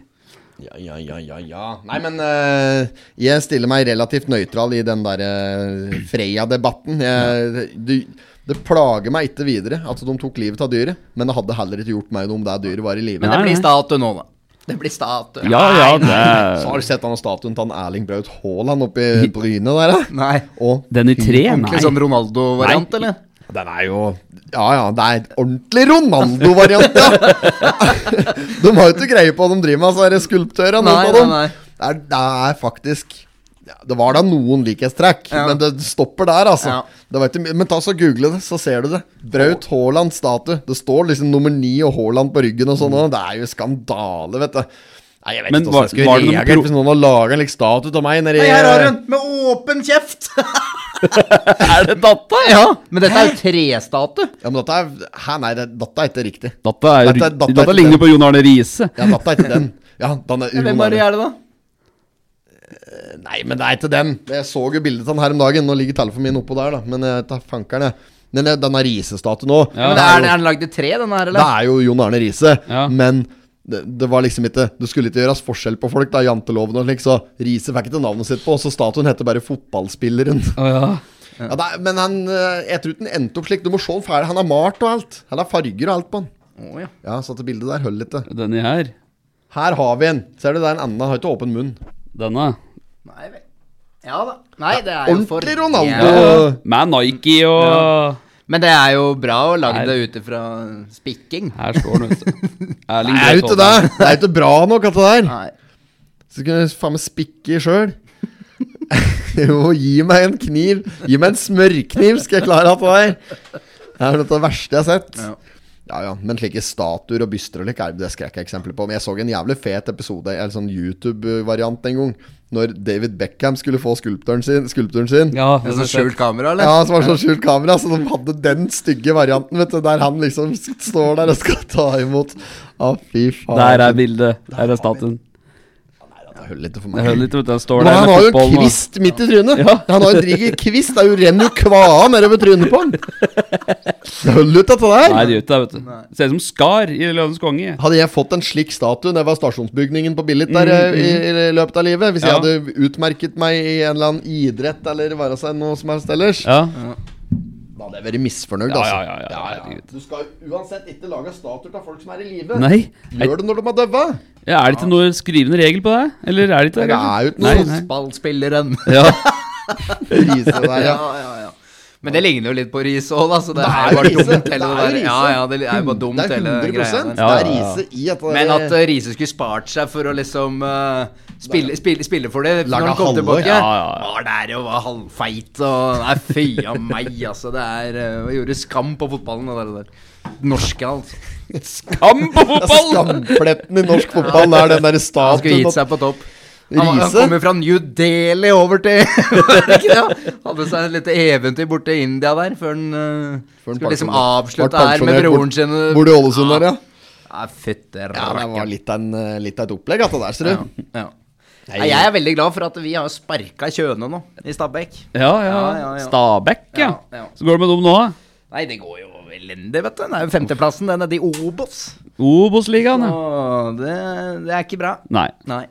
S1: Ja, ja, ja, ja, ja. Nei, men eh, jeg stiller meg relativt nøytral i den der eh, Freia-debatten. Jeg- du- Det plager meg ikke videre at de tok livet av dyret, men det hadde heller ikke gjort meg noe om det dyret var i live.
S3: Men
S2: Nei,
S3: det blir
S2: nei.
S3: statue nå, da. Det blir statue.
S2: Ja, ja, det
S1: Så har du sett han statuen til han Erling Braut Haaland oppe i Bryne der, da?
S3: Nei.
S1: Og
S2: Den i tre?
S3: Ordentlig sånn
S2: Nei.
S3: Ronaldo-variant,
S2: Nei.
S3: eller?
S1: den er jo Ja ja, det er ordentlig Ronaldo-variant, ja! de har jo ikke greie på hva de driver med, altså, disse skulptørene.
S3: Nei,
S1: noen av
S3: nei,
S1: dem.
S3: nei.
S1: Det, er, det er faktisk ja, Det var da noen likhetstrekk,
S3: Ja.
S1: men det stopper der, altså.
S3: Ja.
S1: Det var ikke, mye- men ta så google det, så ser du det. Braut Haaland statue. Det står liksom nummer ni og Haaland på ryggen og sånn. og Det er jo skandale, vet du. Nei, jeg vet
S2: Men
S1: ikke
S2: var-
S1: hvordan jeg skulle
S2: var det noen
S1: reagert
S2: pro-
S1: hvis noen hadde laga en like, statue av meg nedi
S3: Nei, her har hun! Med åpen kjeft!
S2: Er det datta? Ja.
S3: Men dette er jo trestatue.
S1: Ja, men dette er Hæ, nei, det, dette er ikke riktig.
S2: Datta, er,
S1: Datta- datta er
S2: datta
S1: ikke
S2: ligner
S1: den.
S2: på Jon Arne Riise.
S1: Ja, dette er ikke den. Ja, den er
S3: Hvem er det er det, da?
S1: Nei, men det er ikke den. Jeg så jo bildet av den her om dagen. Nå ligger telefonen min oppå der, da. Men jeg tar fankeren, jeg. Den er- den er risestatuen òg.
S2: Ja.
S3: Men er, det, er den lagd i tre, den her,
S1: Det
S3: eller?
S1: er jo Jon Arne Riise,
S2: Ja.
S1: men det, det var liksom ikke Det skulle ikke gjøres forskjell på folk, da, janteloven og slik, så Riise fikk ikke navnet sitt på, og så statuen heter bare fotballspilleren.
S2: Å ja.
S1: Ja, det er, men han, eh, jeg tror ikke den endte opp slik. Du må se han ferdig. Han er malt og alt. Han har farger og alt på han.
S3: Å, ja.
S1: Ja, så det bildet der holder litt. det.
S2: Denne her.
S1: Her har vi en. Ser du, det er en annen. Han har ikke åpen munn.
S2: Denne.
S3: Nei vel. Ja da. Nei, det er jo for
S1: Ordentlig Ronaldo.
S3: Ja.
S2: Med Nike og
S3: Men det er jo bra å lage
S2: Nei.
S3: det ut ifra spikking.
S2: Her står den, vet du. Erling
S1: Det er jo
S2: Braut
S1: ikke det.
S2: Haaland.
S1: Det er ikke bra nok, at det der.
S3: Nei.
S1: Så kunne jeg faen meg spikke sjøl. jo, gi meg en kniv. Gi meg en smørkniv, skal jeg klare alt det der. Det er noe av det verste jeg har sett.
S3: Ja.
S1: Ja, ja, Men slike statuer og byster og lik er det skrekk jeg eksempler på. Men jeg så en jævlig fet episode, eller sånn YouTube-variant en gang, når David Beckham skulle få skulptøren sin. Skulptøren sin.
S2: Ja,
S3: Det er sånn skjult kamera, eller?
S1: Ja, som var sånn skjult kamera, så de hadde den stygge varianten, vet du, der han liksom står der og skal ta imot. Å, fy faen.
S2: Der er bildet. Der er statuen.
S1: Det holder ikke for
S2: Jeg
S1: meg.
S2: hører litt, vet du. Den står
S1: Men
S2: der
S1: han har jo en
S2: fotballen og-
S1: kvist midt i trynet.
S2: Ja.
S1: Han har jo en diger kvist. Det er jo renner jo kvaa nedover trynet på han. Det holder ut, dette der.
S2: Nei, det gjør ikke det, vet du. Det ser ut som Skar i Løvens konge.
S1: Hadde jeg fått en slik statue når jeg var stasjonsbygningen på Billit der eh, i, i løpet av livet, hvis
S2: Mm, Ja.
S1: jeg hadde utmerket meg i en eller annen idrett eller være seg noe som helst ellers,
S2: Ja.
S1: da hadde jeg vært misfornøyd,
S2: Ja,
S1: altså.
S2: ja, ja, ja, herregud.
S1: Du skal jo uansett ikke lage statuer av folk som er i live.
S2: Nei.
S1: Gjør det når de er døde.
S2: Ja, er det ikke noe skrivende regel på det? Eller er det ikke det?
S1: Det er jo
S2: kanskje?
S1: ikke noe
S2: Nei, nei.
S3: Fotballspilleren.
S2: Ja.
S1: Rise der, ja.
S3: ja, ja, ja. Men det ligner jo litt på ris òg, da. Så det,
S1: er
S3: er
S1: jo
S3: jo bare
S1: rise.
S3: dumt,
S1: Det
S3: hele
S1: er jo
S3: det der.
S1: rise.
S3: Ja, ja, det er jo bare dumt,
S1: Det er
S3: hele
S1: 100
S3: greia. der. altså.
S1: Det er
S2: Ja, ja, ja.
S1: rise i dette
S3: Men
S1: der-
S3: at eh, Riise skulle spart seg for å liksom eh, spille, spille, spille for det
S1: Laga
S3: når han kom
S1: halvår.
S3: tilbake.
S2: Ja, ja, ja.
S3: Var der og var halvfeit og Nei, fy a meg, altså. Det er eh, Gjorde skam på fotballen, det der. det der. Norske, altså.
S2: Skam på fotball!
S1: Skampletten Altså, i norsk fotball er den derre
S3: Han skulle gitt
S1: statuen.
S3: seg på topp. Han, han
S1: Riise?
S3: kommer fra New Delhi over til Var det ikke det? Hadde seg et lite eventyr borte i India der før han eh,
S1: Før han
S3: skulle liksom
S1: pensjonerte-
S3: avslutte
S1: ble
S3: her med
S1: pensjonert
S3: broren
S1: bort-
S3: sin. eh.
S1: Bor du i Ålesund der, ja?
S3: Nei, fytte
S1: Ja, det var
S3: rakkeren.
S1: litt av en, eh, litt av et opplegg, at det der, ser du.
S3: Ja. Nei, jeg er veldig glad for at vi har sparka Kjøne nå, i Stabæk.
S2: Ja, ja.
S3: Ja, ja, ja.
S2: Stabæk, ja.
S3: Ja, ja.
S2: Så går det med dem nå, da?
S3: Nei, det går jo elendig, vet du. Det er jo femteplassen, den nede i Obos.
S2: Obos-ligaen, ja.
S3: Og det, det er ikke bra.
S2: Nei.
S3: Nei.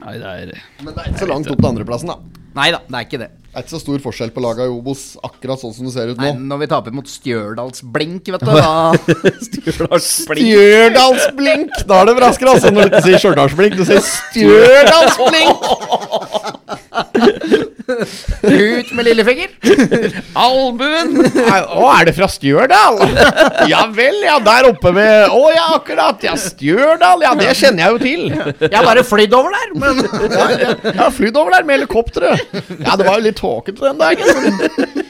S2: Nei, det er
S1: Men det er ikke så langt opp til andreplassen, da.
S3: Nei da, det er ikke det.
S1: Det er ikke så stor forskjell på laga i Obos, akkurat sånn som det ser ut
S3: Nei,
S1: nå.
S3: når vi taper mot Stjørdalsblink, vet du, da
S1: Stjørdalsblink! Da er det raskere, altså, når du ikke sier Stjørdalsblink. Du sier Stjørdalsblink!
S3: Ut med lillefinger!
S2: Albuen!
S1: Nei, Å, er det fra Stjørdal? Ja vel, ja. Der oppe ved Å ja, akkurat. Ja, Stjørdal. Ja, det kjenner jeg jo til.
S3: Jeg har bare flydd over der, men
S1: Ja, jeg jeg har flydd over der med helikopteret. Ja, det var jo litt tåkete den dagen.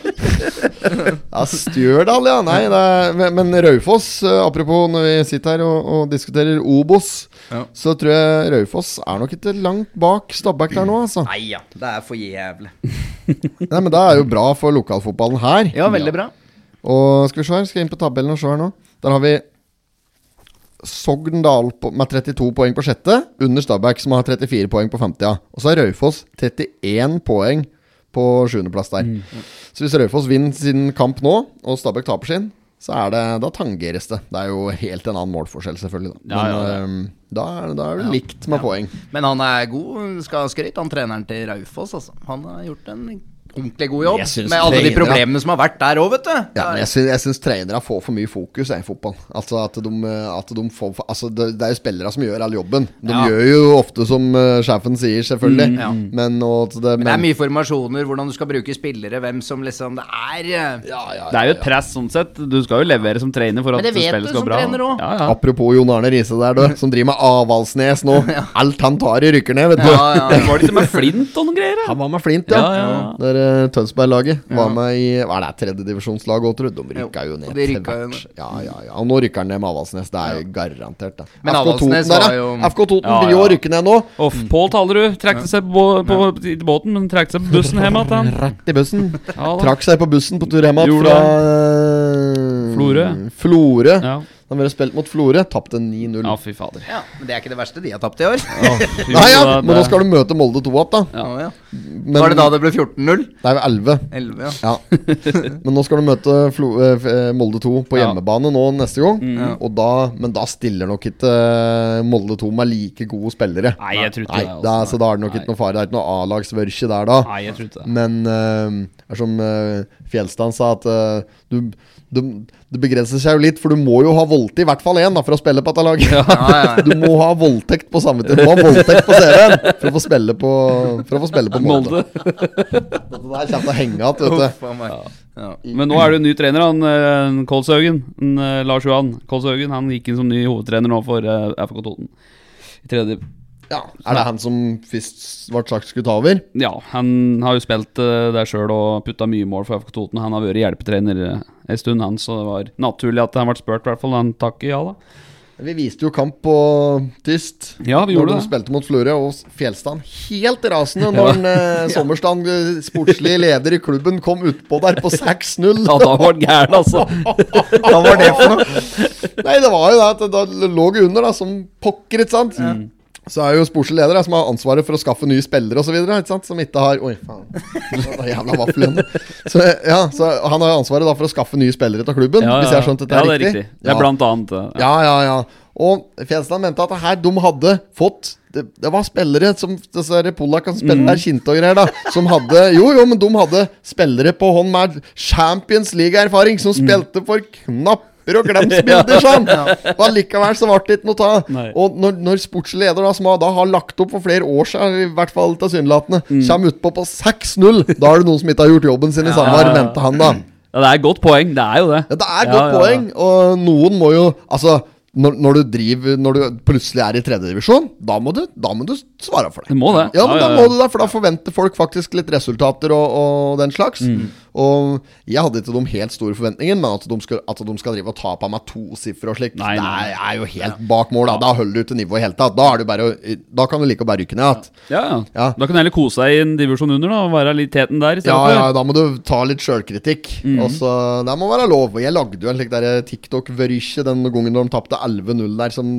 S1: Ja, Stjørdal, ja. Nei, det er, men- men Raufoss, eh, apropos når vi sitter her og, og diskuterer Obos,
S3: Ja.
S1: så tror jeg Raufoss er nok ikke langt bak Stabæk der nå, altså.
S3: Nei ja, det er for jævlig.
S1: Nei, men det er jo bra for lokalfotballen her.
S3: Ja, veldig bra.
S1: Og skal vi se her, skal jeg inn på tabellen og se her nå. Der har vi Sogndal på, med 32 poeng på sjette, under Stabæk, som har 34 poeng på femte. Ja. Og så er Raufoss 31 poeng på sjuendeplass der.
S2: Mm.
S1: Så hvis Raufoss vinner sin kamp nå, og Stabæk taper sin, så er det, da tangeres det. Det er jo helt en annen målforskjell, selvfølgelig. Da.
S2: Ja, ja, ja.
S1: øhm, da, er- da er det likt med poeng.
S3: Men han er god, skal ha skryt, han treneren til Raufoss, altså. Han har gjort en ordentlig god jobb
S1: Jeg synes
S3: med alle de
S1: trener-
S3: problemene som har vært der òg, vet du.
S1: Ja, men jeg syns, jeg syns trenere får for mye fokus jeg, i fotball. Altså at de, eh, at de får for, altså det, det er jo spillere som gjør all jobben. De
S3: Ja. Mm,
S1: gjør jo ofte som eh, sjefen sier, selvfølgelig.
S3: ja.
S1: Men, og, at det, men,
S3: Det er mye formasjoner, hvordan du skal bruke spillere, hvem som liksom Det er eh,
S1: Ja, ja,
S2: Det er jo
S1: ja,
S2: et
S1: ja.
S2: press sånn sett. Du skal jo levere som trener for at
S3: Men det vet
S2: spillet
S3: du
S2: skal
S3: som
S2: bra.
S3: trener også.
S2: Ja, ja.
S1: Apropos Jon Arne Riise der,
S3: Mm.
S1: du, som driver med Avaldsnes nå. Alt han tar i, rykker ned, vet du.
S3: Ja, ja.
S2: Det var litt med flint og noen greier.
S1: Han
S2: Ja.
S1: var med flint, ja.
S2: Ja, ja, ja.
S1: Der eh, Tønsberg-laget var med i Hva er det, tredjedivisjonslag òg, tror du? De rykka
S3: Jo,
S1: jo ned
S3: de
S1: til
S3: rykka jo
S1: hvert.
S3: ned.
S1: Ja, ja, ja. Og nå rykker han ned med Avaldsnes. Det er jo garantert, da.
S3: Men
S1: FK Toten
S3: Avaldsnes
S1: der,
S3: var
S1: ja.
S3: jo-
S1: FK Toten
S2: Ja,
S1: blir jo
S2: ja.
S1: å rykke ned nå.
S2: Off. Pål Talerud trakk seg på, på, i båten, men trakk seg på bussen hjem igjen.
S1: Rett i bussen.
S2: Ja, da.
S1: Trakk seg på bussen på tur hjem igjen
S2: Gjorde
S1: fra
S2: Florø.
S1: Florø.
S2: Ja.
S1: Han ville spilt mot Florø, tapte 9-0.
S2: ja, fy fader.
S3: Ja, men det er ikke det verste de har tapt i år.
S2: Fy,
S1: Nei, ja,
S2: det-
S1: men nå skal du møte Molde 2 opp, da.
S3: Ja, ja.
S1: Men,
S3: Var det da det ble 14-0?
S1: Det er jo 11.
S3: 11, ja.
S1: Ja. Men nå skal du møte Flo, eh, f- eh, Molde 2 på
S2: Ja. Mm.
S1: hjemmebane nå neste gang. Og da, men da stiller nok ikke eh, Molde 2 med like gode spillere.
S2: Nei, jeg tror ikke
S1: Nei,
S2: det, altså.
S1: da, så da er det nok
S2: Nei.
S1: ikke noe fare. Det er ikke noe A-lagsvørsje der da.
S2: eh, Nei, jeg tror ikke det.
S1: Men eh, det er som eh, Fjelstad sa, at eh, du, du, det begrenser seg jo litt, for du må jo ha voldtekt i hvert fall én da, for å spille på dette laget.
S3: Ja, ja.
S1: Du må ha voldtekt på samme tid. Du må ha voldtekt på CV-en for å få spille på, for å få spille på Molde.
S2: Molde.
S1: Det der kommer til å henge igjen, vet du.
S3: Uff a meg. Ja.
S2: Men nå er det jo ny trener, han eh, Kolshaugen. Han, eh, Lars Johan Kolshaugen. Han gikk inn som ny hovedtrener nå for eh, FK Toten. I tredje
S1: Ja, er det han som først ble sagt skulle ta over?
S2: Ja, han har jo spilt eh, der sjøl og putta mye mål for FK Toten. Han har vært hjelpetrener eh, en stund, han, så det var naturlig at han ble spurt, i hvert fall. Han takker ja, da.
S1: Vi viste jo kamp på tyst.
S2: Ja, vi gjorde
S1: når de
S2: det.
S1: spilte mot Florø, og Fjelstad helt rasende når en, eh, Sommerstad, eh, sportslig leder i klubben, kom utpå der på 6-0.
S2: Ja, da var han gæren, altså.
S1: Hva var det for noe? Nei, det var jo det at da lå vi under, da, som pokker, ikke sant? Så er jo sportslig leder da, som har ansvaret for å skaffe nye spillere osv. Som ikke har Oi, faen. Det var jævla vaffel igjen. Så, ja, så han har jo ansvaret da for å skaffe nye spillere til klubben, hvis jeg har skjønt dette
S2: ja, det er
S1: riktig.
S2: riktig. Det er
S1: Ja.
S2: blant annet eh, ja.
S1: Ja, ja, ja. Og Fjeldstad mente at det her de hadde fått det, det var spillere som disse der polakkene som spiller der, Kinte og greier, da. Som hadde Jo, jo, men de hadde spillere på hånd med Champions League-erfaring, som spilte for knappe kopper og glemsbilder, sånn! Og allikevel så ble det ikke noe av.
S2: Nei.
S1: Og når, når sportsleder, da, som har- da har lagt opp for flere år siden, i hvert fall tilsynelatende, kommer utpå på 6-0, da er det noen som ikke har gjort jobben sin i SalMar, mente han da.
S2: Ja, det er et godt poeng. Det er jo det.
S1: Ja, det er et
S2: Ja,
S1: godt
S2: ja, ja.
S1: poeng, og noen må jo Altså, når, når du driver Når du plutselig er i tredjedivisjon, da, må du- da må du svare for det.
S2: Du må det.
S1: Ja, men
S2: Ja, ja,
S1: da
S2: ja.
S1: må du det, for da forventer folk faktisk litt resultater og, og den slags.
S2: Mm.
S1: Og jeg hadde ikke de helt store forventningene, men at de skal, at de skal drive og ta på meg to sifre og slikt,
S2: Nei,
S1: det
S2: nei.
S1: er, er jo helt bak mål. Da, da holder du ikke nivået i hele tatt. Da, er det bare, å- da kan du like å bare rykke ned igjen.
S2: Ja, ja.
S1: Ja.
S2: Da kan du heller kose deg i en divisjon under da og være litt teten der. i stedet
S1: Ja,
S2: for. Mm.
S1: ja, da må du ta litt sjølkritikk. Og så, Det må være lov. Og Jeg lagde jo en slik der TikTok-vrysje den gangen de tapte 11-0 der, som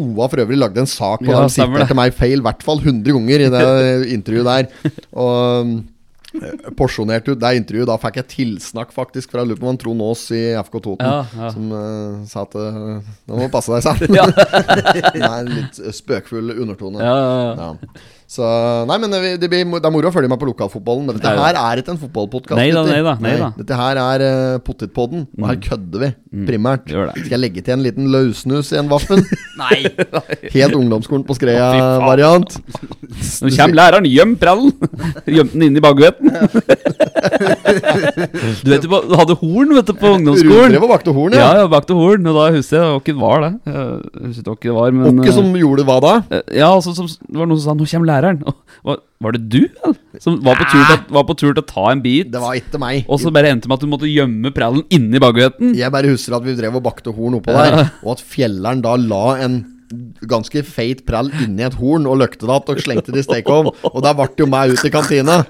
S1: OA for øvrig lagde en sak på.
S2: Ja,
S1: Ja, de
S2: stemmer det.
S1: siterte meg feil i hvert fall 100 ganger i det intervjuet der. Og mm, porsjonert ut det intervjuet. Da fikk jeg tilsnakk faktisk fra Lupenmann Trond Aas i FK Toten,
S2: Ja, ja.
S1: som eh, sa at eh, Nå må du passe deg, sa han.
S2: Ja.
S1: Nei, en litt spøkfull undertone.
S2: Ja, ja, ja.
S1: Ja. Så, nei, men det, det, blir, det er moro å følge med på lokalfotballen. Men dette
S2: Ja, ja.
S1: her er ikke en fotballpodkast.
S2: Nei da, nei da, nei da. Mm.
S1: Dette her er uh, Pottitpodden, og her kødder vi primært.
S2: Gjør det.
S1: Skal jeg legge til en liten løssnus i en vaffen?
S3: Nei!
S1: Helt ungdomsskolen på Skreia-variant.
S2: Nå kommer læreren, gjem prallen! Gjemte den inn i bakgutten. du vet, jo på- du hadde horn vet du, på ungdomsskolen.
S1: Rundrev og bakte horn,
S2: Ja,
S1: ja.
S2: ja, bakte horn. Og da husker jeg hvem var det. Jeg husker ikke hvem det var, men
S1: Åkke som gjorde hva da?
S2: eh, Ja, altså, som, det var noen som sa 'nå kommer læreren'. Og, var, var det du eller? som var på, tur til, å- var på tur til å ta en bit,
S1: Det var ikke meg.
S2: og så bare endte med at du måtte gjemme prallen inni bakgutten?
S1: Jeg bare husker at vi drev og bakte horn oppå
S2: Ja.
S1: der, og at fjelleren da la en ganske feit prall inni et horn og løkte det att og slengte det i stekeovn. Og der ble det jo meg ut i kantina.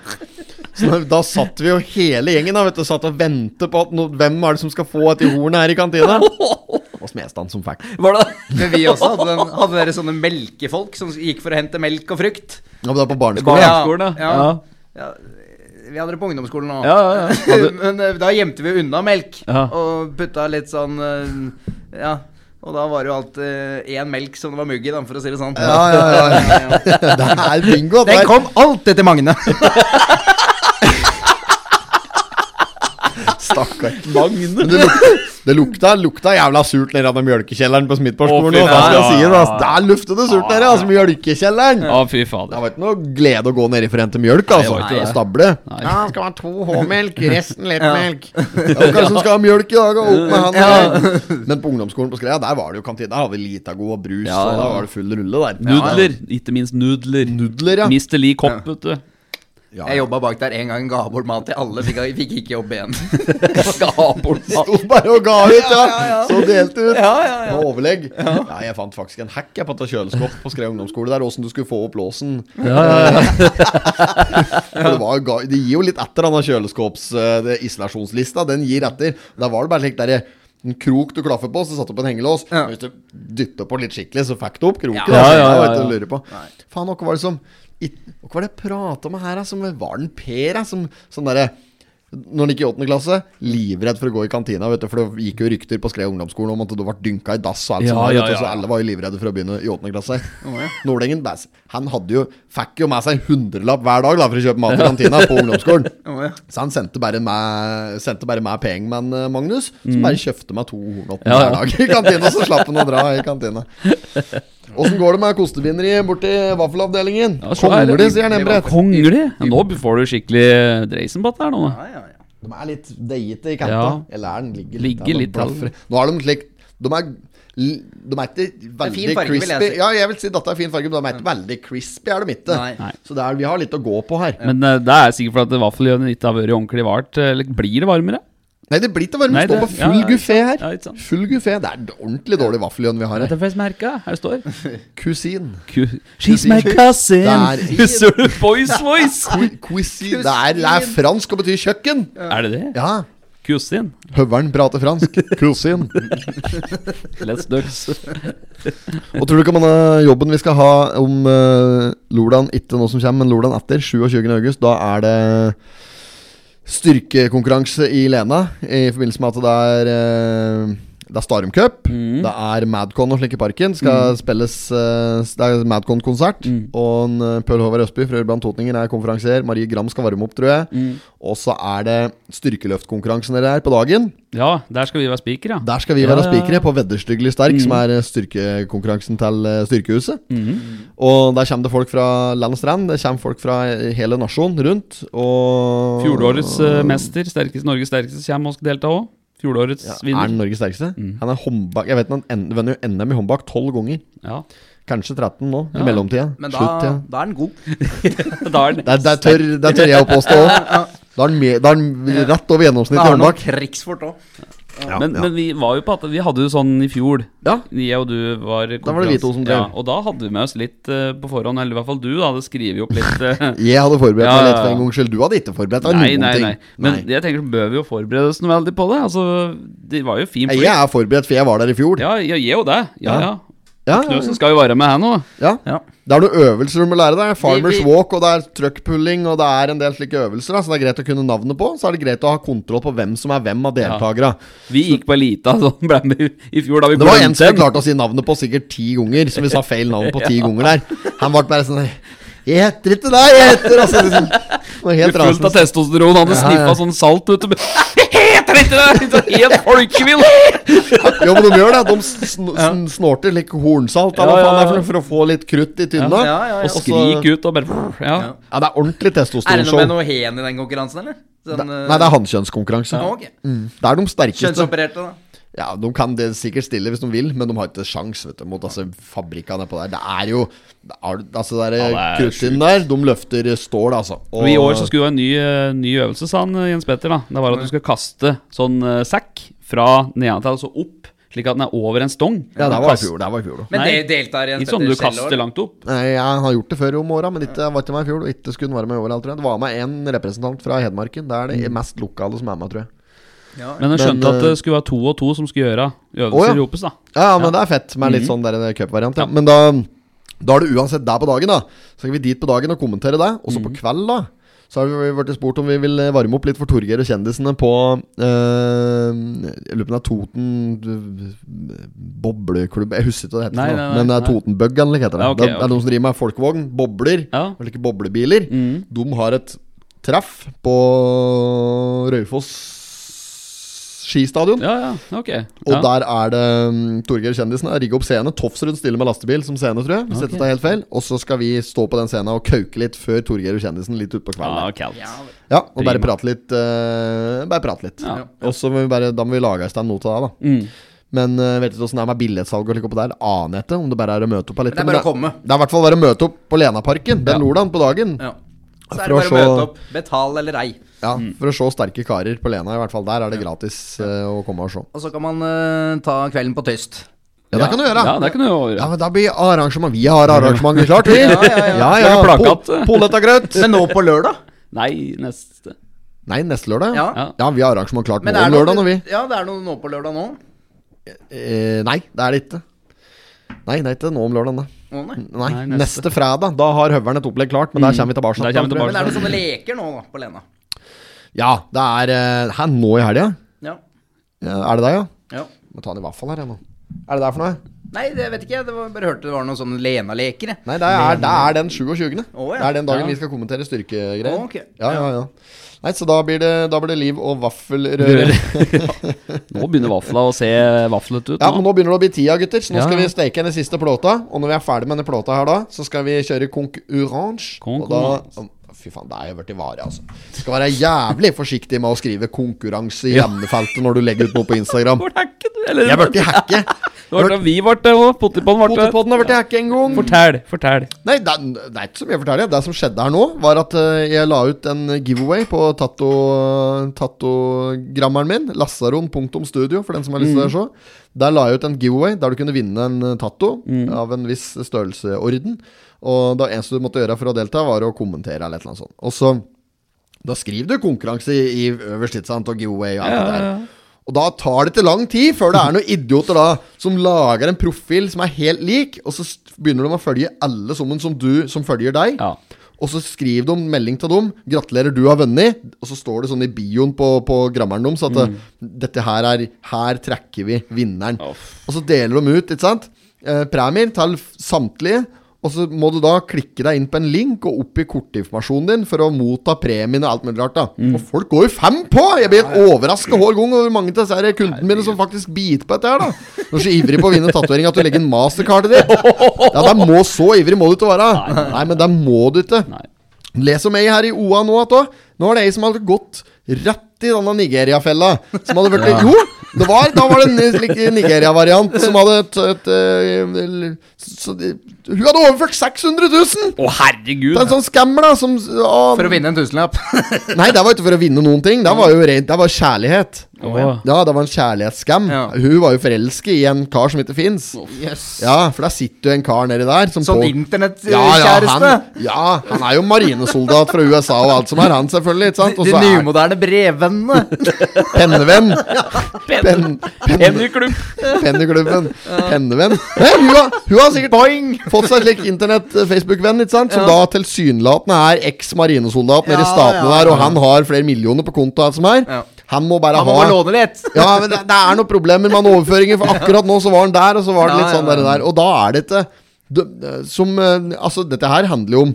S1: Så da, da satt vi jo hele gjengen da, vet du, satt og ventet på at no, hvem er det som skal få et i hornet her i kantina. Og Smestad som fikk.
S2: Var det
S3: Men vi også hadde, den, hadde dere sånne melkefolk som gikk for å hente melk og frukt.
S1: Ja, men det var på barneskolen. Ja.
S2: barneskolen? Ja.
S3: Ja.
S2: Ja.
S3: Ja, vi hadde det på ungdomsskolen nå.
S2: Ja, ja, ja. Hadde-
S3: Men eh, da gjemte vi unna melk
S2: Ja.
S3: og putta litt sånn eh, Ja. Og da var det jo alltid én melk som det var mugg i, da, for å si det sånn.
S1: Ja, ja, ja, Det er bingo. Det
S3: Den
S1: er,
S3: kom alltid til Magne.
S1: stakkar. Men det, luk, det lukta, lukta jævla surt nede i mjølkekjelleren på Smidtborgskolen.
S2: Å, fy
S1: og da skal jeg
S2: faen.
S1: si det, altså. Der luftet det surt nede, altså. Mjølkekjelleren.
S2: Å, fy
S1: Det
S2: fader.
S1: var ikke noe glede å gå ned i forente mjølk, altså.
S2: var ikke det.
S1: Og stable.
S2: Nei.
S1: Ja, skal man ha to H-melk, resten lettmelk. Ja. Kanskje som skal ha mjølk i dag, og opp med han. Men på ungdomsskolen på Skreia, der var det jo kantine. Der hadde vi Litago og brus,
S2: Ja,
S1: og
S2: ja.
S1: da var det full rulle der.
S2: Nudler. Ikke minst nudler.
S1: Nudler, ja.
S2: Mr. Lee Kopp, vet du.
S1: ja.
S3: Jeg jobba bak der en gang, ga bort mat til alle, fikk, fikk ikke jobb igjen.
S2: Skal ha bort
S1: De sto bare og ga ut, ja. Så delte ut. Med overlegg. Ja, jeg fant faktisk en hack jeg på et kjøleskap på Skreia ungdomsskole der, åssen du skulle få opp låsen. For det, var, jo ga- det gir jo litt etter denne kjøleskaps eh, det, isolasjonslista. Den gir etter. Da var det bare slik derre en krok du klaffer på, så satte du på en hengelås.
S3: Ja.
S1: Hvis du dytta på litt skikkelig, så fikk du opp kroken.
S3: Ja.
S1: altså.
S2: Ja, ja, ja,
S1: Det var ikke
S2: ja.
S1: å lure på. Faen, hva var det som i- Hva var det jeg prata om her, da? Som var den Per, da? Som sånn derre når han gikk i åttende klasse, livredd for å gå i kantina. Vet du, for det gikk jo rykter på Skreia ungdomsskolen om at du ble dynka i dass. Og alt
S2: Ja,
S1: sånt, der,
S2: ja,
S1: vet du,
S2: ja.
S1: så alle var jo livredde for å begynne i åttende klasse. Nordengen bæs- han hadde jo, fikk jo med seg en hundrelapp hver dag da, for å kjøpe mat i kantina på ungdomsskolen.
S3: Å, ja.
S1: Så han sendte bare med, sendte bare med pengemann eh, Magnus, som bare kjøpte meg to hornopper
S2: Mm. Ja, ja.
S1: hver dag i kantina. Så slapp han å dra i kantina. Åssen går det med kostebinderi borti vaffelavdelingen?
S2: Ja, så er det-
S1: Kongler de, sier Nembre.
S2: Kongelig? Ja, nå får du skikkelig eh, dreisen på dette her nå.
S3: Ja, ja, ja.
S1: De er litt deite i kanta.
S2: Ja.
S1: Eller er den ligger
S2: Ligger
S1: der, men
S2: litt
S1: blaffer.
S2: der.
S1: Nå er de slik De er li- de er ikke veldig
S3: fin farge, vil jeg
S1: crispy.
S3: si.
S1: Ja, jeg vil si dette er fin farge, men de er ikke veldig crispy. er de ikke
S3: Nei. Nei.
S1: Så det er, vi har litt å gå på her.
S2: Men eh, det er sikkert fordi vaffeljønnen ikke har vært ordentlig vart. eh, Eller blir det varmere?
S1: Nei, det blir ikke varme.
S2: Nei,
S1: Vi står
S2: det-
S1: på full
S2: ja, ja,
S1: guffé her.
S2: ja, ikke sant.
S1: Full guffé. Det er ordentlig dårlig vaffeljønn vi har her.
S2: Det er faktisk merka. Her står
S1: Cuisine.
S2: Ku- She's my cousin!
S1: Det er-
S2: Husker du Boys Voice?
S1: Cu- Cuisine. Det er, det er fransk og betyr kjøkken.
S2: Er det det?
S1: Ja.
S2: Kusin?
S1: Høveren prater fransk. Cuisine.
S2: Let's ducks.
S1: Og tror du ikke om denne jobben vi skal ha om eh, Lordan ikke nå som kommer, men Lordan etter, 27. august, da er det styrkekonkurranse i Lena. I forbindelse med at det er eh, Det er Starum Cup. Det er Madcon og slik i parken. Skal spilles eh, Det er Madcon-konsert. Og en, eh, Pøl Håvard Østby fra Urban Totninger er konferansier. Marie Gram skal varme opp, tror jeg. Og så er det styrkeløftkonkurransen dere er på dagen.
S2: Ja, der skal vi være spiker, ja.
S1: Der skal vi
S2: Ja,
S1: være
S2: ja, Mm. ja.
S1: spikere på Vedderstyggelig sterk, som er eh, styrkekonkurransen til eh, Styrkehuset.
S2: Mm.
S1: Og der kommer det folk fra land og strand. Det kommer folk fra eh, hele nasjonen rundt. Og
S2: Fjorårets eh, mester, sterkest, Norges sterkeste, kommer og skal delta òg. Fjorårets
S1: Ja, er han
S2: vinner.
S1: Norges sterkeste?
S2: Mm.
S1: Han er håndbak Jeg vet han en- vender jo NM i håndbak tolv ganger.
S2: Ja.
S1: Kanskje 13 nå, i
S2: Ja.
S1: mellomtida.
S3: Men da,
S1: Slutt, ja.
S3: da er den god.
S2: Da er den.
S1: Der, der, tør, der tør jeg å påstå òg. Da er han med- da er han rett over gjennomsnittet
S3: Da
S1: i
S3: har den noe
S1: håndbak.
S3: krigsfort òg.
S2: men, men vi var jo på at Vi hadde jo sånn i fjor.
S1: Ja.
S2: Jeg og du var
S1: Da var det vi to som drev.
S2: ja, Og da hadde vi med oss litt eh, på forhånd, eller i hvert fall du da hadde skrevet opp litt eh,
S1: Jeg hadde forberedt
S2: Ja,
S1: meg litt
S2: ja,
S1: for
S2: ja.
S1: en gangs skyld. Du hadde ikke forberedt deg
S2: Nei,
S1: noen
S2: nei,
S1: ting.
S2: nei. Men jeg tenker så bør vi jo forberede oss noe veldig på det. Altså, det var jo fin
S1: Jeg er forberedt, for jeg var der i fjor.
S2: Ja, jeg gjør jo det. Ja,
S1: Ja.
S2: ja.
S1: Ja, ja,
S2: Knutsen skal jo være med her nå.
S1: ja.
S3: Ja.
S1: Det er noen øvelser du må lære deg. Farmers
S3: Vi- vi-
S1: walk, og det er truckpulling, og det er en del slike øvelser. da, Så det er greit å kunne navnet på. Så er det greit å ha kontroll på hvem som er hvem av deltakerne.
S2: Vi gikk på elita som ble med i fjor, da vi
S1: Det var en
S2: glemte
S1: som
S2: en.
S1: jeg klarte å si navnet på sikkert ti ganger, som vi sa feil navn på ti ganger der. Han ble bare sånn Jeg heter ikke deg, jeg heter altså, liksom, det var helt
S2: Fullt av
S1: rasende.
S2: testosteron, hadde
S1: Ja,
S2: sniffa
S1: ja.
S2: sånn salt ute. men- Heter det ikke det?! Det er Helt folkevill!
S1: Jo, men de gjør det. De sn sn snorter litt hornsalt eller hva
S2: Ja,
S1: faen det
S2: ja,
S1: er for,
S2: ja.
S1: noe, for å få litt krutt i tynna.
S3: Ja, ja,
S2: Og
S3: ja.
S2: skrik ut og bare Ja.
S1: Ja, det er ordentlig
S3: Er det noe med
S1: testosteronshow.
S3: noe hen i den konkurransen, eller? Sånn, eh,
S1: Nei, det er hannkjønnskonkurranse.
S3: ok.
S1: Mm. Det er de sterkeste.
S3: Kjønnsopererte, da.
S1: Ja, De kan det sikkert stille hvis de vil, men de har ikke sjans vet du, mot altså, fabrikka nedpå der. Det er jo det er, Altså, det der
S2: Ja, det er
S1: kruttdynen der, de løfter stål, altså.
S2: Og I år så skulle det være en ny, eh, ny øvelse, sa han eh, Jens Petter. da Det var at du skal kaste sånn eh, sekk fra nedentil og så opp, slik at den er over en stong.
S1: Ja, det var i fjor. Det var i fjor da.
S3: Men
S2: Nei.
S3: det deltar i en
S2: Ikke sånn du kaster langt opp.
S1: Nei, jeg har gjort det før om åra, men ikke, var ikke med i fjor. Og ikke skulle den være med i år, tror jeg. Det var med en representant fra Hedmarken. Det er det
S2: Mm.
S1: mest lokale som er med, tror jeg.
S2: Men han
S1: Men,
S2: skjønte at
S1: eh,
S2: det skulle være to og to som skulle gjøre
S1: Å,
S2: øvelser
S1: ja.
S2: i Opus. da
S1: Ja, ja men det er fett med litt sånn der en cupvariant. Ja.
S2: Mhm. Ja.
S1: Men da, da er det uansett der på dagen, da. Så skal vi dit på dagen og kommentere det. Og så
S2: Mhm.
S1: på kveld, da. Så har vi blitt spurt om vi vil eh, varme opp litt for Torgeir og kjendisene på eh, Jeg lurer på om det er Toten eh, Bobleklubb Jeg husker ikke hva det heter.
S2: Nei,
S1: for noe,
S2: nei, nei,
S1: men det er
S2: nei.
S1: Totenbuggen, eller hva heter det.
S2: Ja, ok,
S1: det er
S2: ok.
S1: noen som driver med folkevogn, bobler,
S2: Ja. Mhm.
S1: eller ikke boblebiler. De har et treff på Raufoss skistadion.
S2: Ja, ja, ok.
S1: Og
S2: Ja.
S1: der er det um, Torgeir Kjendisen er rigg opp scene. Tofsrud stiller med lastebil som scene, tror jeg. Hvis dette er helt feil Og så skal vi stå på den scenen og kauke litt før Torgeir og Kjendisen litt utpå
S2: Ja,
S1: kvelden.
S2: kaldt.
S1: Ja, ja Og bare
S2: prima.
S1: prate litt. eh, bare prate litt.
S2: Ja.
S1: Og så må vi bare Da må vi lage i stand noe til det, da.
S2: Mm.
S1: Men eh, vet ikke åssen det er med billettsalg og slikt oppå der. Aner jeg ikke. Om det bare er å møte opp her litt.
S3: Det er bare å komme.
S1: det er i hvert fall bare å møte opp på Lenaparken den lordagen på dagen.
S3: Ja. Så
S1: For
S3: er det
S1: å
S3: bare å møte
S1: se-
S3: opp. Betal eller ei.
S1: Ja, For å se sterke karer på Lena, i hvert fall. Der er det gratis eh, å komme og se.
S3: Og så kan man eh, ta kvelden på tyst.
S1: Ja, det kan du gjøre.
S2: Ja, det kan du gjøre.
S1: Ja, men da blir arrangement Vi har arrangement vi klart, vi.
S3: Ja, ja, ja.
S2: Det er plakat.
S1: Po- Poletagrøt.
S3: Men nå på lørdag?
S2: Nei, neste
S1: Nei, neste lørdag.
S3: Ja.
S2: Ja.
S1: Ja, vi har arrangement klart nå
S3: Men er
S1: om
S3: det
S1: lørdag, når vi
S3: Ja, det er noe nå på lørdag nå.
S1: eh, Nei, det er det ikke. Nei, det er ikke nå om lørdag, nei.
S3: Å, nei. Mm.
S1: Nei,
S2: Nei,
S1: neste.
S2: neste.
S1: fredag. Da har Høveren et opplegg klart, men der kommer vi tilbake.
S2: Der kommer vi
S1: tror jeg.
S3: Men er det sånne leker nå da, på Lena?
S1: Ja, det er eh, Hæ, nå i helga?
S3: Ja.
S1: Ja, er det deg, ja?
S3: ja.
S1: Må ta en i vaffel her, jeg nå. Er det der for noe?
S3: Nei, det vet ikke jeg. Det var, bare hørte det var noen sånne Lena-leker. jeg.
S1: Nei, det er, det er den 27.
S3: Å, ja.
S1: Det er den dagen
S2: Ja.
S1: vi skal kommentere styrkegreier.
S3: Å, ok.
S1: Ja, ja, ja. Nei, så da blir det, da blir det liv og vaffelrøre.
S2: Røre. Nå begynner vafla å se vaflet ut.
S1: Ja, men nå begynner det å bli tida, gutter. Så nå
S2: Ja,
S1: skal
S2: ja.
S1: vi steke den siste plata. Og når vi er ferdig med denne plata her da, så skal vi kjøre konkurranse. Og da
S2: Konkurranse.
S1: Å, Fy faen, det er jo blitt vare, altså. Skal være jævlig forsiktig med å skrive 'konkurranse' i emnefeltet når du legger ut noe på Instagram.
S2: Vårt hacken, eller?
S1: Jeg ble hacke.
S2: Det var da vi ble det òg. Pottipodden ble det.
S1: Potipodden har blitt hacka en gang.
S2: Fortell, fortell.
S1: Nei, det, er- det er ikke så mye å fortelle. Det som skjedde her nå, var at eh, jeg la ut en giveaway på tatto- tattogrammeren min. Lassaron.studio, for den som har lyst til å se. Der la jeg ut en giveaway der du kunne vinne en eh, tatto av en viss størrelseorden. Og det eneste du måtte gjøre for å delta, var å kommentere eller et eller annet sånt. Og så da skriver du konkurranse i, i øverst, ikke sant, og giveaway og alt det der. Og da tar det ikke lang tid før det er noen idioter da som lager en profil som er helt lik, og så s- begynner de å følge alle sammen som du som følger deg.
S2: Ja.
S1: Og så skriver de en melding til dem 'Gratulerer, du har vunnet'. Og så står det sånn i bioen på, på grammeren deres at dette her er Her trekker vi vinneren. Og så deler de ut, ikke sant? Eh, premier til f- samtlige. Og så må du da klikke deg inn på en link og oppgi kortinformasjonen din for å motta premien og alt mulig rart. da Og folk går jo fem på! Jeg blir helt overraska hver gang over hvor mange av disse her kundene mine som faktisk biter på dette her, da. Du er så ivrig på å vinne tatovering at du legger en mastercard i det. Ja, det må så ivrig må du ikke være. Nei, men det må du ikke.
S2: Nei.
S1: Les om ei her i OA nå at òg. Nå er det ei som hadde gått rett i denne Nigeria-fella. Som hadde vært Jo! Det var, da var det en slik Nigeria-variant som hadde et, et, eh, så de- Hun hadde overført 600 000!
S2: Å, herregud!
S1: Det er en sånn scammer, da, som ah,
S3: For å vinne en tusenlapp.
S1: Nei, det var ikke for å vinne noen ting. Det var jo rent, det var kjærlighet.
S2: Å.
S1: Ja, det var en kjærlighetsskam.
S3: Ja.
S1: Hun var jo forelsket i en kar som ikke fins.
S3: Yes.
S1: Ja, for der sitter jo en kar nedi der som
S3: Sånn
S1: på-
S3: internettkjæreste.
S1: han, ja, han er jo marinesoldat fra USA og alt som er, han selvfølgelig. ikke sant? Og
S3: de
S1: så er
S3: nymoderne brevvennene.
S1: pennevenn. Pen, pen,
S2: Henry-klubb!
S1: penneklubben. Pennevenn. Hæ, hun, har, hun har sikkert fått seg en slik internett-Facebook-venn, ikke sant? som da tilsynelatende er eks-marinesoldat nede i
S3: Ja,
S1: statene
S3: ja,
S1: der, og han har flere millioner på konto og alt som er.
S3: Ja.
S1: Han må bare
S3: Han må
S1: ha
S3: bare låne litt.
S1: ja, men det, det er noen problemer med overføringer, for akkurat nå så var den der, og så var den
S3: Ja,
S1: litt sånn
S3: ja,
S1: der, og der. Og da er det ikke det- Som eh, Altså, dette her handler jo om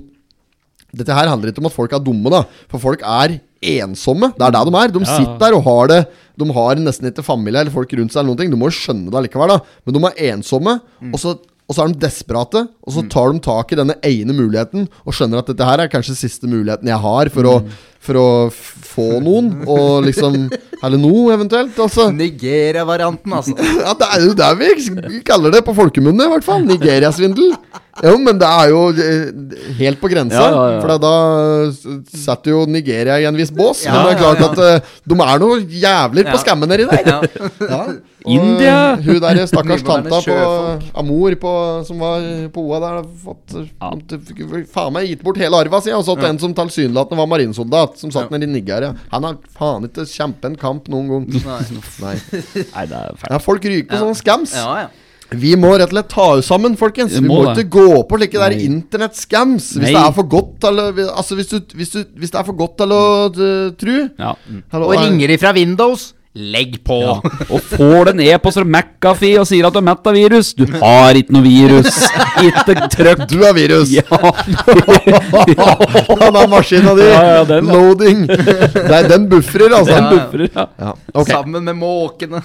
S1: Dette her handler ikke om at folk er dumme, da. For folk er ensomme. Det er der de er. De sitter der og har det De har nesten ikke familie eller folk rundt seg, eller noen ting. Du må jo skjønne det likevel, da. Men de er ensomme, og så og så er de desperate, og så tar de tak i denne ene muligheten og skjønner at dette her er kanskje siste muligheten jeg har for å, for å f- få noen, og liksom Eller noe, eventuelt. Altså.
S3: Nigeria-varianten, altså.
S1: Ja, det er jo det vi vi kaller det på folkemunne, i hvert fall. Nigeria-svindel. Jo, men det er jo eh, helt på grensa.
S2: Ja, ja, ja.
S1: For da s- setter jo Nigeria i en viss bås.
S3: Ja,
S1: men det er klart
S3: ja, ja.
S1: at eh, de er noe jævler på
S3: Ja.
S1: skammen nedi der.
S3: Ja.
S1: Ja. Og
S2: India!
S1: Hun der stakkars
S3: Nymoderne
S1: tanta på
S3: sjøfolk.
S1: Amor på, som var på OA der, har fått eh, fikk faen meg gitt bort hele arva si. Og så til en som tilsynelatende var marinesoldat, som satt nede i Nigeria. Han har faen ikke kjempet en kamp noen gang. Nei.
S2: Nei, det er fælt.
S1: Ja, folk ryker på sånne skams.
S3: Ja, ja.
S1: Vi må rett og slett ta oss sammen, folkens.
S2: Vi
S1: Vi må
S2: må det.
S1: ikke gå på slike der
S2: Nei.
S1: internett-scams hvis
S2: Nei.
S1: det er for godt til å Altså, hvis, du, hvis, du, hvis det er for godt til å eh, tru.
S2: Ja.
S1: Hallo,
S3: Og
S1: er-
S3: ringer ifra Windows, legg på.
S2: Ja. Og får den e-post fra McAfee og sier at du er mett av virus. Du har ikke noe virus. Ikke trøkk.
S1: Du er virus!
S2: Ja.
S1: den maskina di!
S2: Ja, ja, den, ja.
S1: Loading! Nei, den bufferer, altså.
S2: Den buffer, ja.
S1: Ja. Ok.
S3: Sammen med måkene.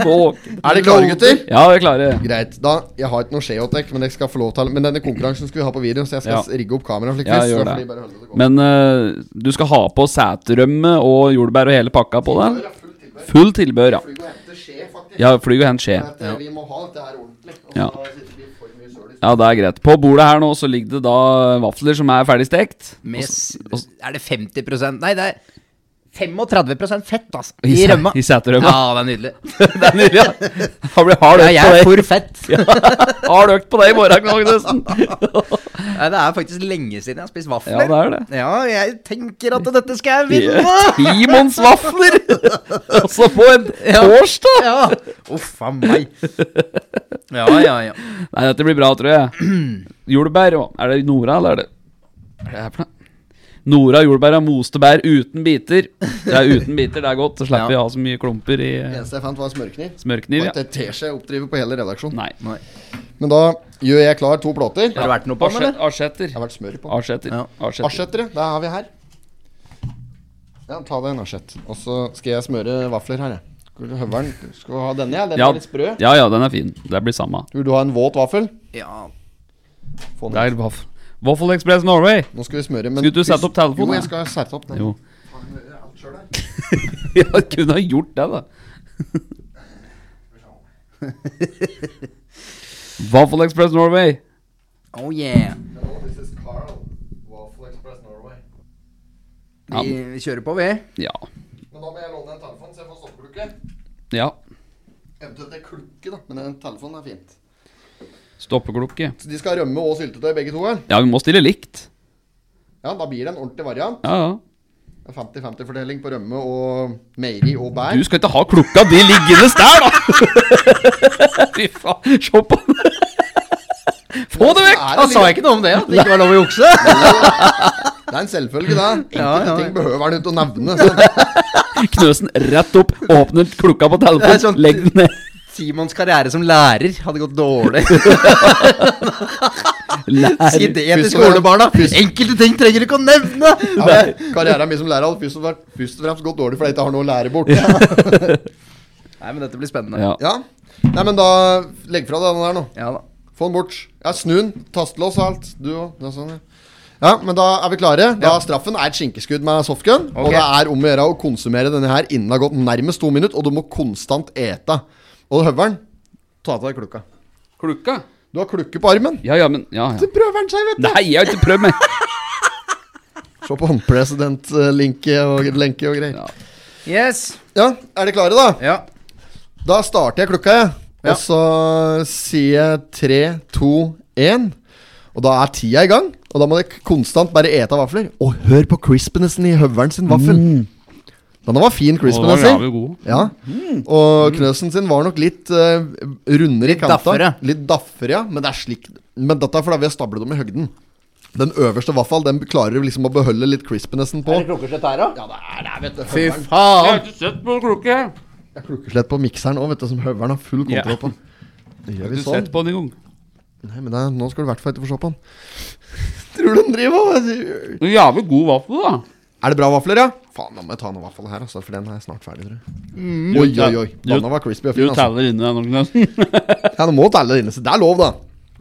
S2: Våken.
S1: Er dere klare, gutter?
S2: Ja, vi er klare.
S1: Greit. da, Jeg har ikke noe Sheotek, men jeg skal få lov til Men denne konkurransen skal vi ha på video, så jeg skal
S2: Ja.
S1: s- rigge opp kameraet. slik
S2: Ja,
S1: quiz, så
S2: gjør
S1: får
S2: det.
S1: vi bare holde det gående.
S2: Men eh, du skal ha på sæterømme og jordbær og hele pakka på deg? Full tilbør, ja.
S1: Vi må hente skje, faktisk.
S2: Ja, fly og hent skje.
S1: At, eh, Vi må ha dette her ordentlig. og
S2: Ja.
S1: så sitter vi for mye søl i
S2: Ja, det er greit. På bordet her nå så ligger det da vafler som er ferdig stekt.
S3: Med, s-
S2: Og s-
S3: er det 50 Nei, det er 35 fett, altså.
S2: I
S3: I
S2: sæ-
S3: rømma.
S2: i sæterømma.
S3: Ja, det er nydelig.
S2: Det er nydelig, ja. Da blir hard
S3: Ja,
S2: økt
S3: jeg er
S2: på deg.
S3: for fett.
S2: Hard økt på deg i morgen, Magnesen.
S3: Nei, det er faktisk lenge siden jeg har spist vafler.
S2: Ja, det er det.
S3: Ja, jeg tenker at dette skal jeg vinne!
S2: Timons vafler! Altså på en torsdag!
S3: Ja. Uff a meg. Ja, ja, ja.
S2: Nei, dette blir bra, tror jeg. Jordbær og Er det Nora, eller er det Hva er det her for noe? Nora jordbær og moste bær uten biter. Det er uten biter, det er godt. Så slipper vi
S3: Ja.
S2: å ha så mye klumper i
S1: Det
S2: eh,
S1: eneste jeg fant, var en smørkniv.
S2: smørkniv.
S1: Og
S2: Ja.
S1: det ter seg oppdrive på hele redaksjonen.
S2: Nei.
S3: Nei.
S1: Men da gjør jeg klar to plater.
S3: Har det vært noe på den, eller?
S2: Arsetter.
S1: Det har vært smør på.
S2: Arsetter.
S3: Ja.
S2: Arsetter.
S1: Asjetter, det har vi her. Ja, ta deg en asjett. Og så skal jeg smøre vafler her, jeg. Skal du høveren Skal du ha denne, ja? Den
S2: Ja.
S1: er litt sprø.
S2: ja ja, den er fin. Det blir samme.
S1: Vil du ha en våt vaffel?
S3: ja.
S1: Få
S2: Det
S1: den.
S2: er vaff- Waffle Express Norway.
S1: Nå skal vi smøre, men
S2: Skulle du sette opp telefonen,
S1: Jo,
S2: ja?
S1: jeg skal sette opp den.
S2: Jo. Ja, kunne ha gjort det, da. Waffle Express Norway.
S3: Oh yeah.
S2: Ja.
S3: Vi kjører på, vi.
S2: Ja.
S1: Men da må jeg låne en telefon, så jeg får stoppeklukke.
S2: ja.
S1: Eventuelt en klukke, da. Men en telefon er fint.
S2: Stoppeklokke.
S1: Så de skal ha rømme og syltetøy, begge to? Her.
S2: Ja, vi må stille likt.
S1: Ja, da blir det en ordentlig variant.
S2: Ja, ja.
S1: 50-50-fordeling på rømme og meieri og bær.
S2: Du skal ikke ha klokka di liggende der, da! Fy faen. Se på den. Få det vekk!
S1: Er
S3: Da
S1: det
S3: sa jeg
S1: litt-
S3: ikke noe om det, at det ikke var lov å jukse.
S1: Det er en selvfølge, det. Enkelte
S3: Ja, ja, ja.
S1: ting behøver han ikke å nevne. Så.
S2: Knøsen rett opp, åpner klokka på
S3: Det er
S2: telefonen,
S3: sånn-
S2: legg den ned.
S3: Simons karriere som lærer hadde gått dårlig.
S2: Lær.
S3: Si det til
S1: Først og
S3: skolebarna.
S1: fremst-
S3: Enkelte ting trenger du ikke å nevne!
S1: Ja, men Karrieren min som lærer har først og fremst- først og fremst gått dårlig fordi jeg ikke har noe å lære bort. Ja.
S3: Nei, men dette blir spennende.
S2: Ja.
S1: Nei, men da Legg fra deg den der nå.
S3: Ja da.
S1: Få den bort. Ja, Snu den. Tastelås og alt. Du òg. Ja, sånn, ja. ja, men da er vi klare. Da Straffen er et skinkeskudd med softgun.
S3: Ok.
S1: Og det er om å gjøre å konsumere denne her innen det har gått nærmest to minutter, og du må konstant ete. Og høveren Ta av deg klukka.
S2: Klokka?
S1: Du har klukke på armen.
S2: Ja, ja, men ja, ja.
S1: Det prøver han seg, vet du.
S2: Nei, jeg har ikke prøvd meg.
S1: Se på håndpresident-linke og lenke og greier.
S2: Ja.
S3: Yes.
S1: Ja, er de klare, da?
S3: Ja.
S1: Da starter jeg klokka, jeg.
S3: Ja.
S1: Og så sier jeg tre, to, én. Og da er tida i gang. Og da må dere konstant bare ete av vafler. Og hør på crispinessen i høveren sin vaffel. Mm. Denne var fin crispiness. i. Ja. Mm. Og Knøsen sin var nok litt eh, rundere i kanta.
S3: daffere.
S1: Litt daffere, ja. Men det er slik Men dette er fordi vi har stablet dem i høgden. Den øverste vaffel, den klarer du liksom å beholde litt crispinessen på.
S3: klokkeslett her, da?
S1: Ja, det er det, vet du.
S3: Fy
S1: Høveren-
S3: faen!
S1: Jeg har klokkeslett på mikseren òg, vet du, som høveren har full
S2: Ja.
S1: kontroll på. Det gjør vi sånn.
S2: Sett på den en gang.
S1: Nei, men det er, nå skal du i hvert fall ikke få se på den. Tror du han driver og
S2: En Jævlig god vaffel, da.
S1: Er det bra vafler, ja? Faen, da må jeg ta noen vaffel her, altså, for den er snart ferdig, tror jeg. Oi, oi, oi. Vanna var crispy og
S2: Mm. Du
S1: fin, altså.
S2: teller inni den, Knøsen.
S1: Ja, du må telle det inne, så det er lov, da.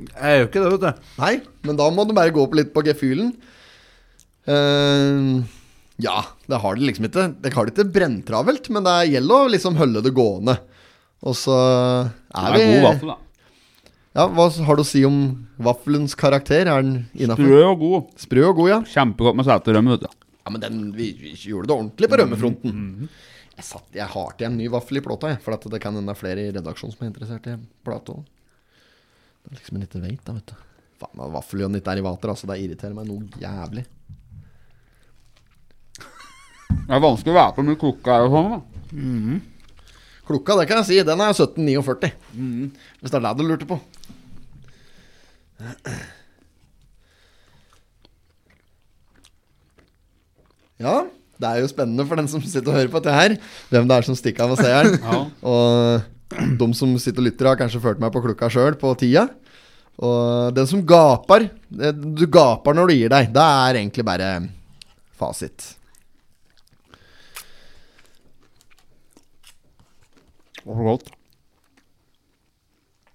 S3: Jeg gjør ikke det, vet du.
S1: Nei, men da må du bare gå opp litt på gefühlen. Eh, ja, det har det liksom ikke. Det har det ikke brenntravelt, men det gjelder å liksom holde det gående. Og så
S2: Det
S1: er
S2: er
S1: vi
S2: god vaffel, da.
S1: Ja, Hva har du å si om vaffelens karakter? Er den innafor?
S2: Sprø og god.
S1: Sprø og god, ja.
S2: Kjempegodt med seterømme, vet du.
S1: Ja, men den, vi, vi gjorde det ordentlig på rømmefronten. Jeg, satt, jeg har til en ny vaffel i plata, jeg, for at det kan hende det er flere i redaksjonen som er interessert i plata. også. Det er liksom en liten veit, da, vet du. Faen, da, vaffeljønn ikke er i vater, altså. Det irriterer meg noe jævlig.
S2: Det er vanskelig å være på med klokka her og sånn, da.
S1: Klokka, det kan jeg si. Den er 1749. Hvis det er det du lurte på. Ja, det er jo spennende for den som sitter og hører på dette her, hvem det er som stikker av og ser den.
S2: Ja.
S1: Og de som sitter og lytter, har kanskje ført meg på klokka sjøl på tida. Og den som gaper eh, Du gaper når du gir deg. Det er egentlig bare fasit.
S2: Det var så godt.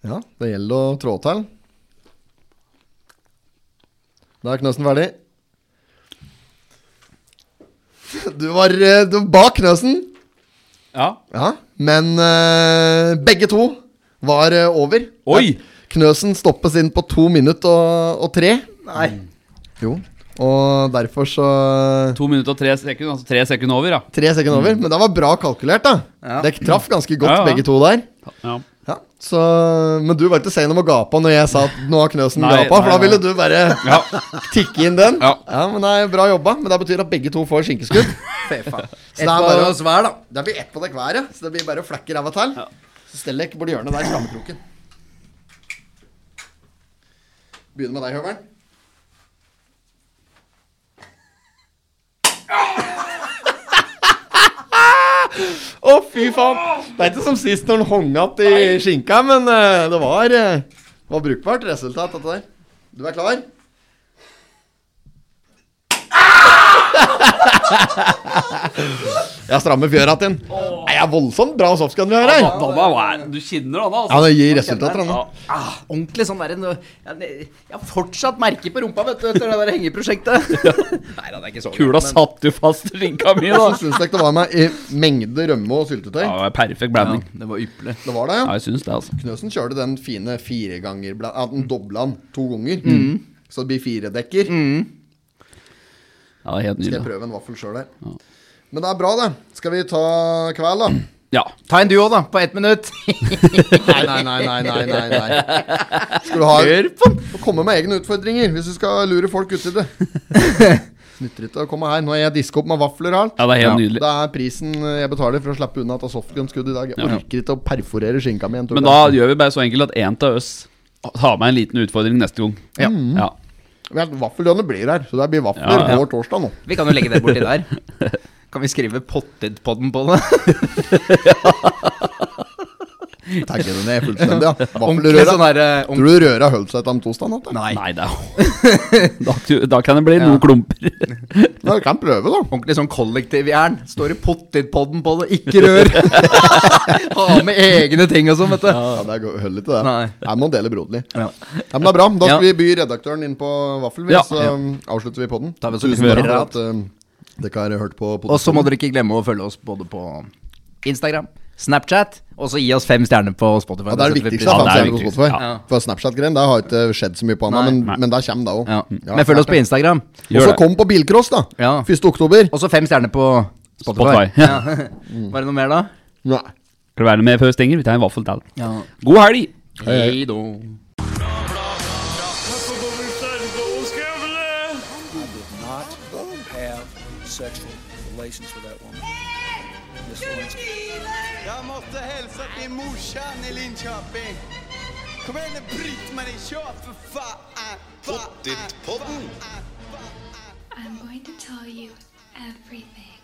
S1: Ja, det gjelder å trå til. Da er Knøsen ferdig. Du var, eh, du var bak Knøsen,
S2: Ja.
S1: ja. men eh, begge to var eh, over.
S2: Oi!
S1: Knøsen stoppes inn på to minutter og, og tre.
S3: Nei.
S1: Jo. Og derfor så
S2: To minutter og tre sekunder, altså tre sekunder over, ja.
S1: Tre sekunder over. Men det var bra kalkulert, da.
S3: Ja.
S1: Dere traff ganske godt,
S2: Ja, ja.
S1: begge to der.
S2: ja.
S1: Ja, så, Men du var ikke sein om å gape når jeg sa at nå har Knøsen
S2: Nei,
S1: gapa, for
S2: nei,
S1: da ville
S2: nei.
S1: du bare
S2: Ja.
S1: tikke inn den.
S2: Ja.
S1: men det er Bra jobba, men det betyr at begge to får skinkeskudd.
S3: Fy faen.
S1: Så det
S3: Ett
S1: er
S3: bare
S1: bare å
S3: oss hver, da.
S1: Det blir ett på dere hver, ja. Så det blir bare å flekke ræva til. Så stell dere borti hjørnet der i skammekroken. Begynner med deg, Høveren. Å, fy faen. Det er ikke som sist når han hong att i skinka, men eh, det var, eh, det var brukbart resultat, dette der. Du er klar? Jeg strammer fjøra til den. Nei, Jeg er voldsomt bra softgun vi har her.
S2: Danna, hva er det? Du kjenner Danna,
S1: Ja,
S2: altså.
S1: det gir resultater, han. da.
S3: Ah, ordentlig sånn derre nå- jeg, jeg har fortsatt merke på rumpa, vet du, etter det der hengeprosjektet. Nei da, det er ikke så
S2: Kula
S3: men-
S2: satt jo fast i skinka mi, da.
S1: Hvordan syns dere det var med i mengde rømme og syltetøy?
S2: Ja, det var perfekt
S3: Ja,
S2: blanding.
S3: det var ypperlig.
S1: Det var det,
S2: Ja,
S1: ja.
S2: jeg syns det, altså.
S1: Knøsen kjørte den fine fire ganger bla- At den dobla den to ganger.
S2: Mm.
S1: Mm. Så det blir fire dekker.
S2: Ja, det er helt
S1: Skal jeg
S2: nydelig.
S1: prøve en vaffel sjøl der. Men det er bra, det. Skal vi ta kveld, da?
S2: Ja.
S3: Ta en du òg, da, på ett minutt.
S1: Nei, nei, nei, nei, nei, nei, nei. Skal du ha
S3: Hør på den.
S1: Få komme med egne utfordringer hvis du skal lure folk uti det. Nytter ikke å komme her. Nå er jeg diska opp med vafler og alt.
S2: ja, det er helt nydelig.
S1: Det er prisen jeg betaler for å slippe unna at jeg har softgun-skudd i dag. Jeg
S2: Ja.
S1: orker ikke å perforere skinka mi en tur.
S2: Men
S1: til.
S2: da gjør vi bare så enkelt at én av oss ta med en liten utfordring neste gang.
S3: Ja.
S2: Ja.
S1: Men Vaffeldønene blir her, så det blir vafler
S2: Ja, ja.
S1: hver torsdag nå.
S3: Vi kan jo legge det borti der. Kan vi skrive pottetpodden på det?
S1: Tagge det ned fullstendig, ja.
S3: Ordentlig sånn
S1: Vaffelrøra.
S3: her eh,
S1: Tror du røra holdt seg til om tosdagen? Atte?
S3: Nei.
S2: Nei, da. da Da kan det bli
S3: Ja.
S2: noen klumper.
S1: Ja, vi kan prøve, da.
S3: Ordentlig sånn kollektivjern. Står i pottetpodden på det, ikke rør! Ha med egne ting og sånn, vet du.
S1: Ja, det er go- høller til det.
S3: Nei.
S1: Jeg må dele broderlig.
S3: Ja.
S1: Ja, men det er bra. Da skal
S3: Ja.
S1: vi by redaktøren inn på vaffel, vi,
S2: Ja.
S1: så um, avslutter vi podden.
S3: Da har vi også
S1: Tusen
S3: lyst til å
S1: takk for
S3: høre
S1: at um, dere har hørt på
S3: Og så
S1: podden.
S3: må dere ikke glemme å følge oss både på Instagram, Snapchat, og så gi oss fem stjerner på Spotify.
S1: Ja, det er det
S3: setter vi
S1: viktigste.
S3: pris
S2: Ja,
S3: på.
S1: at
S2: det er
S1: han ser på
S2: viktigst.
S1: Spotify.
S3: Ja.
S1: For Snapchat-greien, der har ikke skjedd så mye på annet,
S3: Nei.
S1: men,
S2: Nei.
S1: men der kommer det òg.
S3: Ja. Men følg oss på Instagram.
S1: Og
S2: Gjør
S1: så
S2: det.
S1: kom på bilcross, da.
S3: Ja.
S1: 1. oktober.
S3: Og så fem stjerner på Spotify.
S2: Spotify.
S3: Mm. Ja. Var det noe mer, da?
S1: Nei.
S2: Skal du være med før det stenger? Vi tar en vaffel til.
S3: Ja.
S2: God helg!
S3: Hei då.
S4: Not have sexual relations with that woman. Miss Lewinsky.
S5: Jag måste hälsa till morsan i Linköping. Kom igen nu Britt-Marie, kör för fan! Pottit-podden!
S6: I'm going to tell you everything.